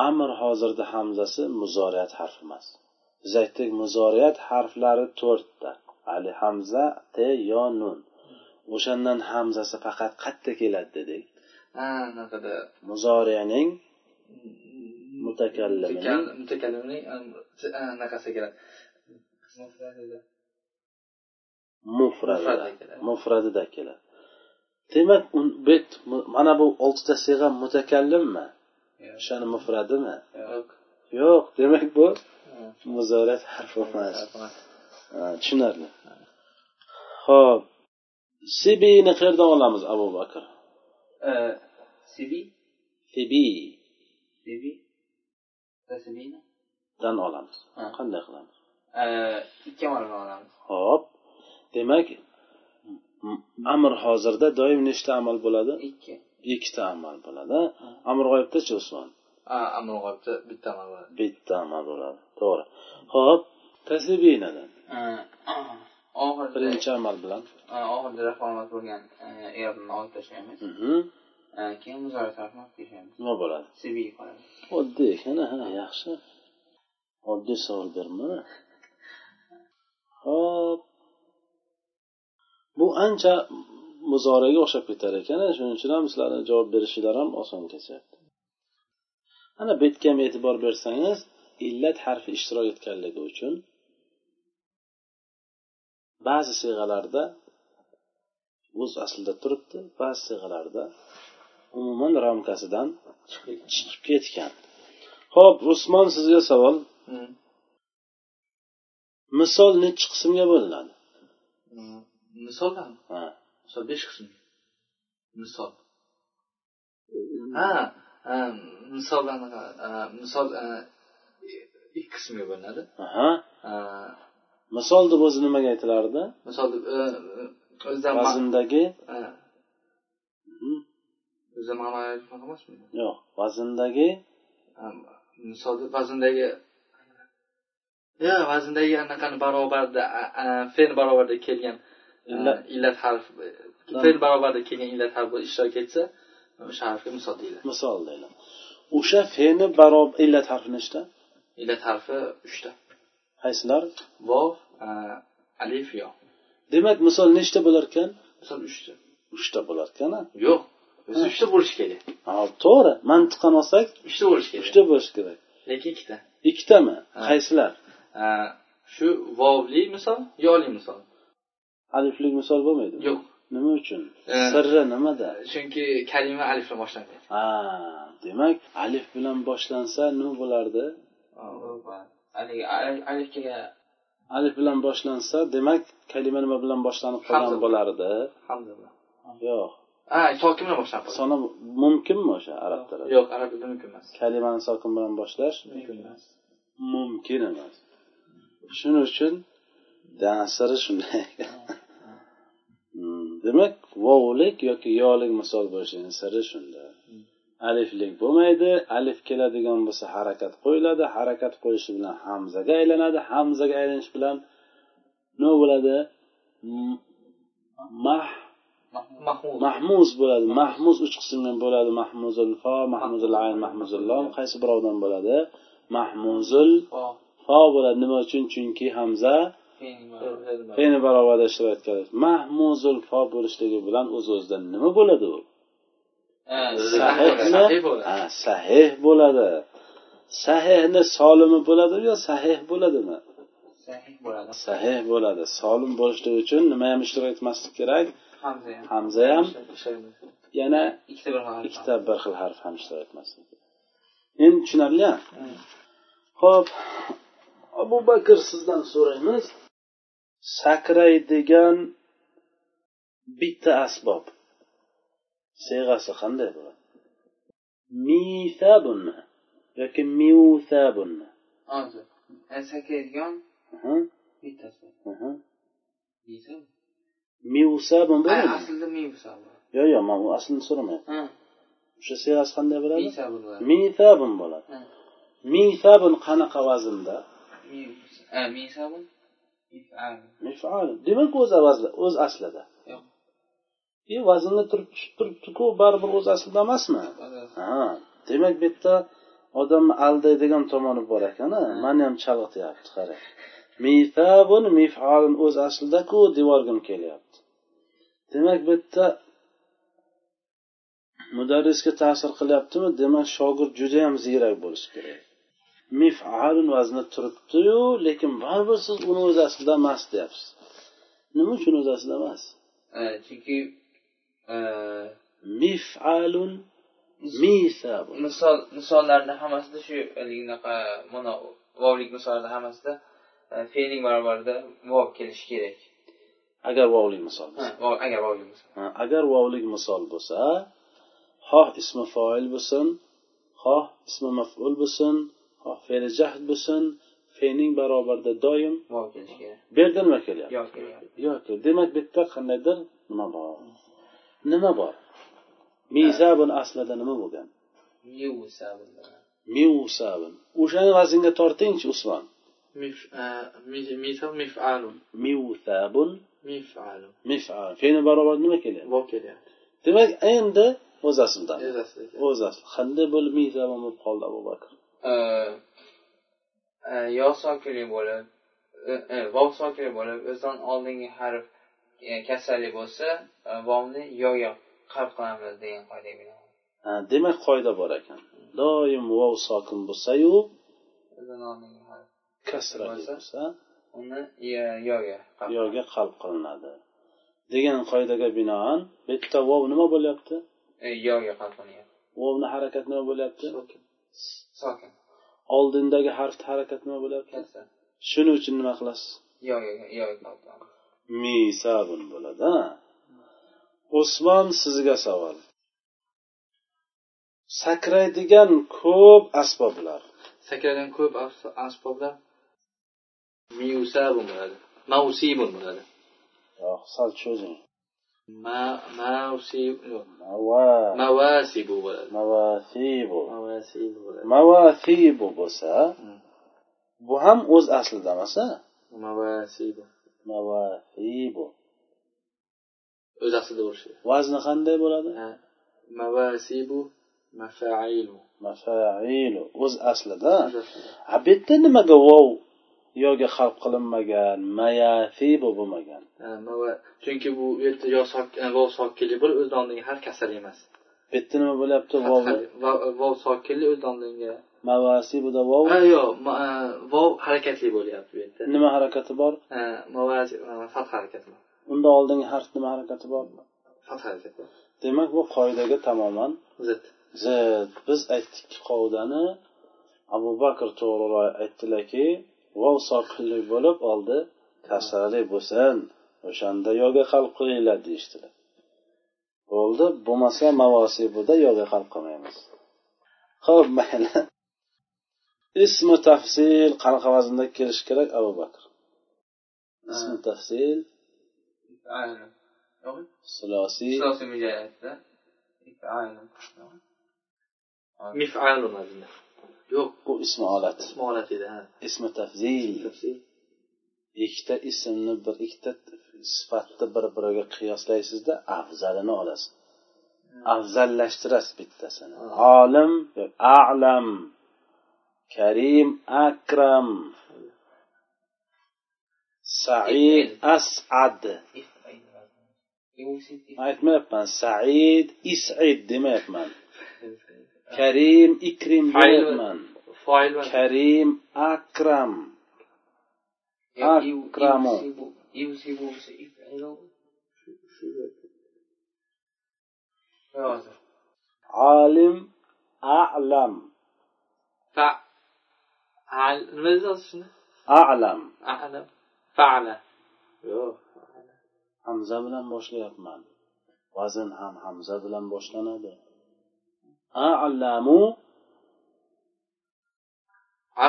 [SPEAKER 1] amr hozirda hamzasi muzoriyat harfi emas biz aytdik muzoriyat harflari to'rtta ali hamza te yo nun o'shandan hamzasi faqat qayerda keladi dedik
[SPEAKER 2] ha anaqada
[SPEAKER 1] muzoriyaning mutakallimining
[SPEAKER 2] mutakallimning anaqasi keladi
[SPEAKER 1] mufradida
[SPEAKER 2] Mufradida keladi.
[SPEAKER 1] mufradida keladi demak un- bu yet- mu- mana bu oltita sig'a mutakallimmi
[SPEAKER 3] Yo'q.
[SPEAKER 1] o'shani mufradimi
[SPEAKER 2] yo'q
[SPEAKER 1] yo'q demak bu
[SPEAKER 2] Ha,
[SPEAKER 1] muzorat harfi emas
[SPEAKER 2] harf emas.
[SPEAKER 1] Ha, tushunarli ho'p sibini qayerdan olamiz abu bakr
[SPEAKER 3] Э, Sibi,
[SPEAKER 1] sibidan
[SPEAKER 3] Sibi, Tasbina.
[SPEAKER 1] olamiz
[SPEAKER 3] Ha.
[SPEAKER 1] qanday qilamiz
[SPEAKER 3] Э, ikki marta olamiz.
[SPEAKER 1] ho'p demak m- amr hozirda doim nechta amal bo'ladi
[SPEAKER 3] Ikki.
[SPEAKER 1] ikkita amal bo'ladi amr g'oyibdachi usmon
[SPEAKER 2] amri g'oyibda bitta amal bo'ladi
[SPEAKER 1] bitta amal bo'ladi to'g'ri ho'p tasbinadan
[SPEAKER 3] oxirida
[SPEAKER 1] birinchi amal bilan
[SPEAKER 3] e, oxirida raformat bo'lgan e, erni olib tashlaymiz
[SPEAKER 1] Mhm.
[SPEAKER 3] E, keyin muzori tarafini olib tashlaymiz
[SPEAKER 1] nima bo'ladi
[SPEAKER 3] sebiy qoladi
[SPEAKER 1] oddiy ekan ha yaxshi oddiy savol berma hop bu ancha muzoraga o'xshab ketar ekan shuning uchun ham sizlarni javob berishinglar ham oson kechyapti ana bu yerga ham e'tibor bersangiz illat harfi ishtirok etganligi uchun ba'zi siyg'alarda o'z aslida turibdi ba'zi siyg'alarda umuman ramkasidan chiqib ketgan ho'p rusmon sizga savol
[SPEAKER 2] Hmm.
[SPEAKER 1] misol nechi qismga bo'linadi
[SPEAKER 2] Hmm. misoldan
[SPEAKER 1] Ha.
[SPEAKER 2] misol besh qism misol ha ha, misoldan ha, misol ha, ikki qismga bo'linadi
[SPEAKER 1] aha
[SPEAKER 2] Ha,
[SPEAKER 1] misol deb o'zi nimaga aytilardi
[SPEAKER 2] misol deb e, e, o'zidan ma-
[SPEAKER 1] vazndagi
[SPEAKER 2] ha,
[SPEAKER 1] Mhm.
[SPEAKER 2] o'zidan ma'noni aytmoq emasmi
[SPEAKER 1] yo'q vazndagi
[SPEAKER 2] Ha, misol deb vazndagi yo vazndagi anaqani barobarida a- a, fe'l barobarida kelgan
[SPEAKER 1] Illat.
[SPEAKER 2] illat illat harf fe'l barobarida kelgan illat harfi ishtirok etsa o'sha harfga misol deyiladi
[SPEAKER 1] misol deyiladi o'sha fe'ni barobar illat harfi nechta
[SPEAKER 2] illat harfi uchta
[SPEAKER 1] qaysilar
[SPEAKER 2] vov a, alif yo
[SPEAKER 1] demak misol nechta bo'larkan
[SPEAKER 2] misol uchta
[SPEAKER 1] uchta bo'larkan ha?
[SPEAKER 2] yo'q o'zi uchta bo'lishi kerak
[SPEAKER 1] ha to'g'ri mantiqan olsak
[SPEAKER 2] uchta bo'lishi kerak
[SPEAKER 1] uchta bo'lishi kerak
[SPEAKER 2] lekin ikkita
[SPEAKER 1] ikkitami
[SPEAKER 2] Ha.
[SPEAKER 1] qaysilar
[SPEAKER 2] A, shu vovli misol yoli misol
[SPEAKER 1] aliflik misol bo'lmaydi
[SPEAKER 2] yo'q
[SPEAKER 1] nima uchun
[SPEAKER 2] Ha.
[SPEAKER 1] sirri nimada
[SPEAKER 2] chunki kalima alif bilan boshlanmaydi
[SPEAKER 1] ha demak alif bilan boshlansa nima bo'lardi
[SPEAKER 3] haligi al- alifga
[SPEAKER 1] alif bilan boshlansa demak kalima nima bilan boshlanib qolgan
[SPEAKER 2] Hamza.
[SPEAKER 1] bo'lardi
[SPEAKER 2] hamza bilan
[SPEAKER 1] yo'q
[SPEAKER 2] ha sokin bilan boshlanib qoladi.
[SPEAKER 1] soni mumkinmi o'sha arab tilida
[SPEAKER 2] yo'q arab tilida mumkin emas
[SPEAKER 1] kalimani sokin bilan boshlash
[SPEAKER 2] mumkin emas
[SPEAKER 1] mumkin emas shuning uchun siri shunday Hmm, demak vovlik yoki yolik misol bo'lishini siri shunda aliflik bo'lmaydi alif keladigan bo'lsa harakat qo'yiladi harakat qo'yishi bilan hamzaga aylanadi hamzaga aylanishi bilan nima bo'ladi M- mah
[SPEAKER 2] mahmud
[SPEAKER 1] mahmuz bo'ladi mahmuz uch qismdan bo'ladi mahmuzul fo mahmuzul ayn mahmuzul lom qaysi birovidan bo'ladi mahmuzul
[SPEAKER 3] fo
[SPEAKER 1] fo bo'ladi nima uchun chunki hamza
[SPEAKER 3] fe'l
[SPEAKER 2] Fe'l- fe'l bilan.
[SPEAKER 1] ayni barobarda ishlayotgan mahmuzul fo bo'lishligi bilan o'z o'zidan nima bo'ladi u
[SPEAKER 2] Sahih
[SPEAKER 1] sahihmi
[SPEAKER 2] bo'ladi.
[SPEAKER 1] Ha, sahih bo'ladi sahihni solimi bo'ladimi yo sahih bo'ladimi
[SPEAKER 3] sahih bo'ladi
[SPEAKER 1] sahih bo'ladi solim bo'lishligi uchun nima ham ishtirok etmaslik kerak
[SPEAKER 3] hamza ham
[SPEAKER 1] hamza ham
[SPEAKER 2] O'sha-
[SPEAKER 1] yana
[SPEAKER 3] ikkita bir harf
[SPEAKER 1] ikkita bir xil harf ham ishtirok etmaslik kerak endi tushunarlia ho'p abu bakr sizdan so'raymiz sakraydigan bitta asbob siyg'asi qanday bo'ladi misabunmi yoki miusabunmi
[SPEAKER 3] hozir E, sakraydigan
[SPEAKER 1] Aha,
[SPEAKER 3] bittasi
[SPEAKER 1] aha.
[SPEAKER 3] deysan
[SPEAKER 1] miusabun bo'ladimi
[SPEAKER 3] aslida miyusa bo'ladi
[SPEAKER 1] yo'q yo'q man u aslini so'ramayapman
[SPEAKER 3] ha
[SPEAKER 1] o'sha siyg'asi qanday bo'ladi
[SPEAKER 3] miyusa bo'ladi
[SPEAKER 1] misabun bo'ladi
[SPEAKER 3] Ha,
[SPEAKER 1] misabun qanaqa vaznda
[SPEAKER 3] miyus- e, miyusa bu mif'al.
[SPEAKER 1] mifal demak o'z avazda o'z aslida
[SPEAKER 3] Yo'q,
[SPEAKER 1] e vaznda turib tushib turibdiku baribir o'z aslida emasmi
[SPEAKER 3] bo'ladi.
[SPEAKER 1] ha demak bu yerda odamni aldaydigan tomoni bor ekan a mani ham chalg'ityapti qarang mifabun mifalun o'z aslidaku devorgim kelyapti demak bu yerda mudarrisga ta'sir qilyaptimi demak shogird judayam ziyrak bo'lishi kerak mifalun vazni turibdiyu lekin baribir siz uni o'z aslida emas deyapsiz nima uchun o'z aslida emas
[SPEAKER 3] E, chunki e,
[SPEAKER 1] mifalun misabun
[SPEAKER 3] misol misollarni hammasida shu haligi unaqa mana vovlik misollarni hammasida e, fe'lning barobarida vov kelishi kerak
[SPEAKER 1] agar vovli misol
[SPEAKER 3] Ha,
[SPEAKER 1] bo'lsa
[SPEAKER 3] vov- agar vovlik bo'lsa
[SPEAKER 1] Ha, agar vovlik misol bo'lsa xoh ismi foil bo'lsin xoh ismi maful bo'lsin xoh fe'li jahd bo'lsin fe'ning barobarida doim
[SPEAKER 3] vov kelishi kerak
[SPEAKER 1] bu yerda nima kelyapti
[SPEAKER 3] yo kelyapti
[SPEAKER 1] yoki demak bu yerda qandaydir nima bor nima bor mizabun aslida nima bo'lgan
[SPEAKER 3] miyusa bo'ladi
[SPEAKER 1] mevsabun o'shani vaznga tortingchi usmon
[SPEAKER 2] مف... آه... مي- ميثا مفعل
[SPEAKER 1] mevsabun
[SPEAKER 2] مفعل
[SPEAKER 1] mifal fe'li barobar nima kelyapti
[SPEAKER 2] واو kelyapti
[SPEAKER 1] demak endi o'z aslida
[SPEAKER 2] ezasida kelyapti.
[SPEAKER 1] o'z asli qanday bo'lib mevsabun bo'lib qoldi abu bakr
[SPEAKER 3] E, yo sokili bo'lib e, e, vov sokili bo'lib o'zidan oldingi harf e, kasalli bo'lsa e, vovni yoga qalb qilamiz degan qoidaga binoan
[SPEAKER 1] Ha, demak qoida bor ekan doim vov sokin bo'lsayu
[SPEAKER 3] o'zidan oldingi harf
[SPEAKER 1] kasra
[SPEAKER 3] Bo'lsa?
[SPEAKER 1] bo'lsa
[SPEAKER 3] uni e, yoga qalb
[SPEAKER 1] yoga qalb qilinadi degan qoidaga binoan bu yerda vov nima bo'lyapti
[SPEAKER 3] e, yoga qalb qilyapti
[SPEAKER 1] vovni harakat nima bo'lyapti
[SPEAKER 2] Sokin.
[SPEAKER 3] sokin
[SPEAKER 1] oldindagi harfni harakat nima bo'lyapti
[SPEAKER 3] kassa
[SPEAKER 1] shuning uchun nima qilasiz
[SPEAKER 3] yoga yoga qalb qilamiz.
[SPEAKER 1] misabun bo'ladi ha? usmon sizga savol sakraydigan ko'p asboblar
[SPEAKER 2] sakragan ko'p as- asboblar miusabun bo'ladi mausibun bo'ladi
[SPEAKER 1] Yo'q, sal cho'zing
[SPEAKER 2] Ma- mausib yo'q,
[SPEAKER 1] Mava-
[SPEAKER 2] mavasibu bo'ladi
[SPEAKER 1] mavasibu
[SPEAKER 2] mavasibu bo'ladi
[SPEAKER 1] mavasibu bo'lsa
[SPEAKER 2] Hmm.
[SPEAKER 1] bu ham o'z aslida emas a?
[SPEAKER 2] mavasibu
[SPEAKER 1] mavasibu
[SPEAKER 2] o'z aslida bo'lishi kerak.
[SPEAKER 1] vazni qanday bo'ladi
[SPEAKER 2] Ha, mavasibu mafailu
[SPEAKER 1] mafailu o'z aslida
[SPEAKER 2] o'z aslida.
[SPEAKER 1] a bu yerda nimaga vov yoga xalq qilinmagan mayasibu bo'lmagan
[SPEAKER 2] Ha, mava- chunki bu yerda yo sok- e, vov sokinlik bo'lib o'zidan oldingi har kasal emas
[SPEAKER 1] bu yerda nima bo'lyapti vov
[SPEAKER 2] Fatha- va- vov sokinlik o'zidan oldingi
[SPEAKER 1] mavasibida vov
[SPEAKER 2] ha yo'q ma- e, vov harakatli bo'lyapti bu yerda
[SPEAKER 1] nima harakati bor
[SPEAKER 2] Ha, mavasi e, fath harakati bor.
[SPEAKER 1] unda oldingi harf nima harakati bor
[SPEAKER 2] fath harakati bor.
[SPEAKER 1] demak bu qoidaga tamoman
[SPEAKER 2] zid
[SPEAKER 1] zid biz aytdikki qoidani abu bakr to'g'riroq aytdilarki vov sokinlik bo'lib oldi kasrali bo'lsin o'shanda yoga qalb qilinglar deyishdilar bo'ldi bo'lmasa mavosibuda yoga qalb qilmaymiz ho'p mayli ismi tafsil qanaqa vaznda kelishi kerak abu bakr ismi tafsil
[SPEAKER 3] Aynan. Yo'q.
[SPEAKER 1] sulosiy
[SPEAKER 3] Siyosiy mujahiddda. Ikkita aynan. Yo'q.
[SPEAKER 2] mifalun aslida. yo'q
[SPEAKER 1] bu ismi olat
[SPEAKER 2] ismi olat edi ha
[SPEAKER 1] ismi tafzil
[SPEAKER 2] Tafsir.
[SPEAKER 1] ikkita ismni bir ikkita sifatni bir biriga qiyoslaysizda afzalini olasiz afzallashtirasiz bittasini olim yo alam karim akram said asad aytmayapman said isid demayapman karim ikrim demayapman
[SPEAKER 2] foil va
[SPEAKER 1] karim akram Akramu.
[SPEAKER 3] Yusibu bo'lsa ifilu. Hozir.
[SPEAKER 1] olim alam
[SPEAKER 2] fa al nima dedingiz shuni
[SPEAKER 1] alam
[SPEAKER 2] ala faala yo'q
[SPEAKER 1] hamza bilan boshlayapman vazn ham hamza bilan boshlanadi alamu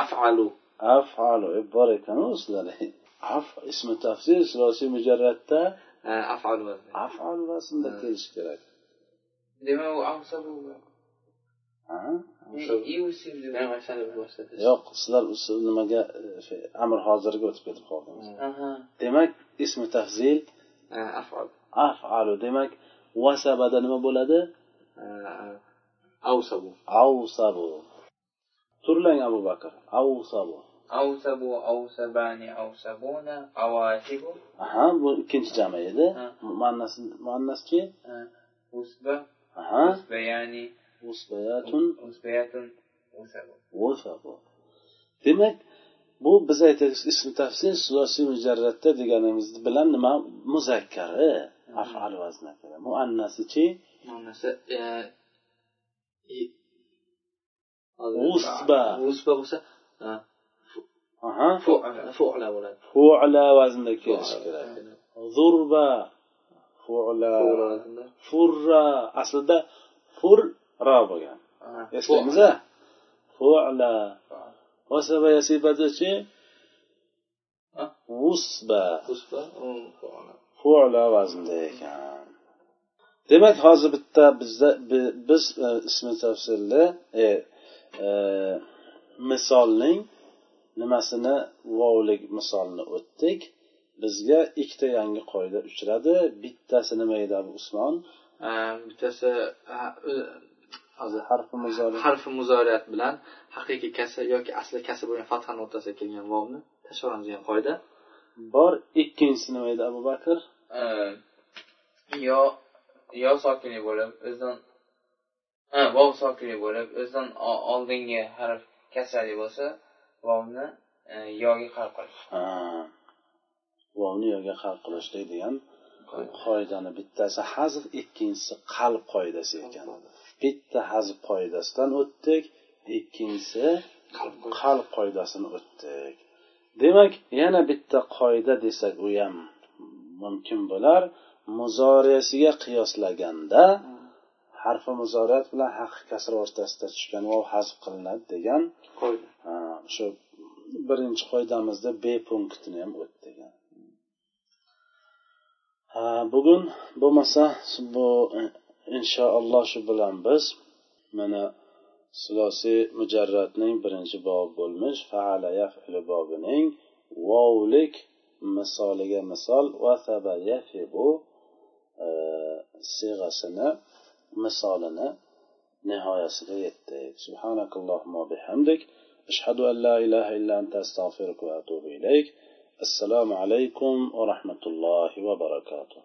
[SPEAKER 2] afalu
[SPEAKER 1] afalu E, bor ekanu sizlarda af ismi tafsir silosiy mujarratda
[SPEAKER 2] Ha, afalu vazni.
[SPEAKER 1] afal vaznda kelishi kerak
[SPEAKER 3] Demak u avsabu.
[SPEAKER 1] Ha?
[SPEAKER 3] Yusib
[SPEAKER 2] Men
[SPEAKER 3] demak.
[SPEAKER 2] mana shuni boshladim.
[SPEAKER 1] yo'q sizlar usul- nimaga e, fe- amr hozirga o'tib ketib qoldingiz
[SPEAKER 3] Aha.
[SPEAKER 1] demak ismi tafzil
[SPEAKER 2] Ha, afal
[SPEAKER 1] afalu demak vasabada nima bo'ladi
[SPEAKER 2] Ha, avsabu
[SPEAKER 1] avsabu turlang abu bakr avsabu
[SPEAKER 3] Avsabu, avsabani, avsabuna, avasibu.
[SPEAKER 1] aha bu ikkinchi jami edi
[SPEAKER 3] Ha.
[SPEAKER 1] muannas muannaschi
[SPEAKER 3] eh, Usba,
[SPEAKER 1] aha
[SPEAKER 3] usbayani,
[SPEAKER 1] usbayatun
[SPEAKER 3] usbayatun, usabu.
[SPEAKER 1] vasabu demak bu biz aytaylik ismi tafsir siyosiy mujarratda deganimiz bilan nima muzakkari afal vazni muannasichi
[SPEAKER 2] ma'nosi e, i-
[SPEAKER 1] Usba.
[SPEAKER 2] usba bo'lsa ha,
[SPEAKER 1] aha
[SPEAKER 2] fu- fu'la bo'ladi
[SPEAKER 1] fu'la vaznda kelishi kerak zurba fu'la
[SPEAKER 2] Fu'la vaznda.
[SPEAKER 1] furra aslida furra bo'lgan
[SPEAKER 2] Ha,
[SPEAKER 1] eslaymiz a fu'la vasaba yasibadachi
[SPEAKER 3] Ha?
[SPEAKER 1] vusba
[SPEAKER 2] usba u fu'la.
[SPEAKER 1] fu'la vaznda ekan demak hozir bitta bizda bi- biz e, ismi tafsilni e, misolning nimasini vovlik misolni o'tdik bizga ikkita yangi qoida uchradi bittasi nima edi abu usmon
[SPEAKER 2] bittasi ha, o'zi- hozir
[SPEAKER 1] harfi muzori
[SPEAKER 2] harfi muzoriyat bilan haqiqiy kasra yoki asli kasra bo'lgan fathani o'rtasiga kelgan vovni tashlab yuboradigan qoida
[SPEAKER 1] bor ikkinchisi nima edi abu bakr
[SPEAKER 3] Ee, yo yo sokini bo'lib o'zidan ha vov sokini bo'lib o'zidan o- oldingi harf kasrali bo'lsa vovni e, yoga qarab qolish
[SPEAKER 1] Ha, vovni yoga qalb qilishlik degan qoidani bittasi hazf ikkinchisi qalb qoidasi ekan bitta hazf qoidasidan o'tdik ikkinchisi qalb qoidasini o'tdik demak yana bitta qoida desak u ham mumkin bo'lar muzoriyasiga qiyoslaganda harfi muzoriyat bilan haqiqiy kasra o'rtasida tushgan vov hazf qilinadi degan
[SPEAKER 2] qoida
[SPEAKER 1] ha, o'sha birinchi qoidamizda b punktini ham o'tdik ha, bugun bo'lmasa shu- bu eh, inshaalloh shu bilan biz mana silosiy mujarratning birinchi bobi bo'lmish faala yafilu bobining vovlik misoliga misol va saba yafibu eh, siyg'asini misolini nihoyasiga yetdik subhanakallohumma bihamdik ashhadu an la ilaha illa anta astag'firuka va atubu ilayk assalomu alaykum va rahmatullohi va barakatuh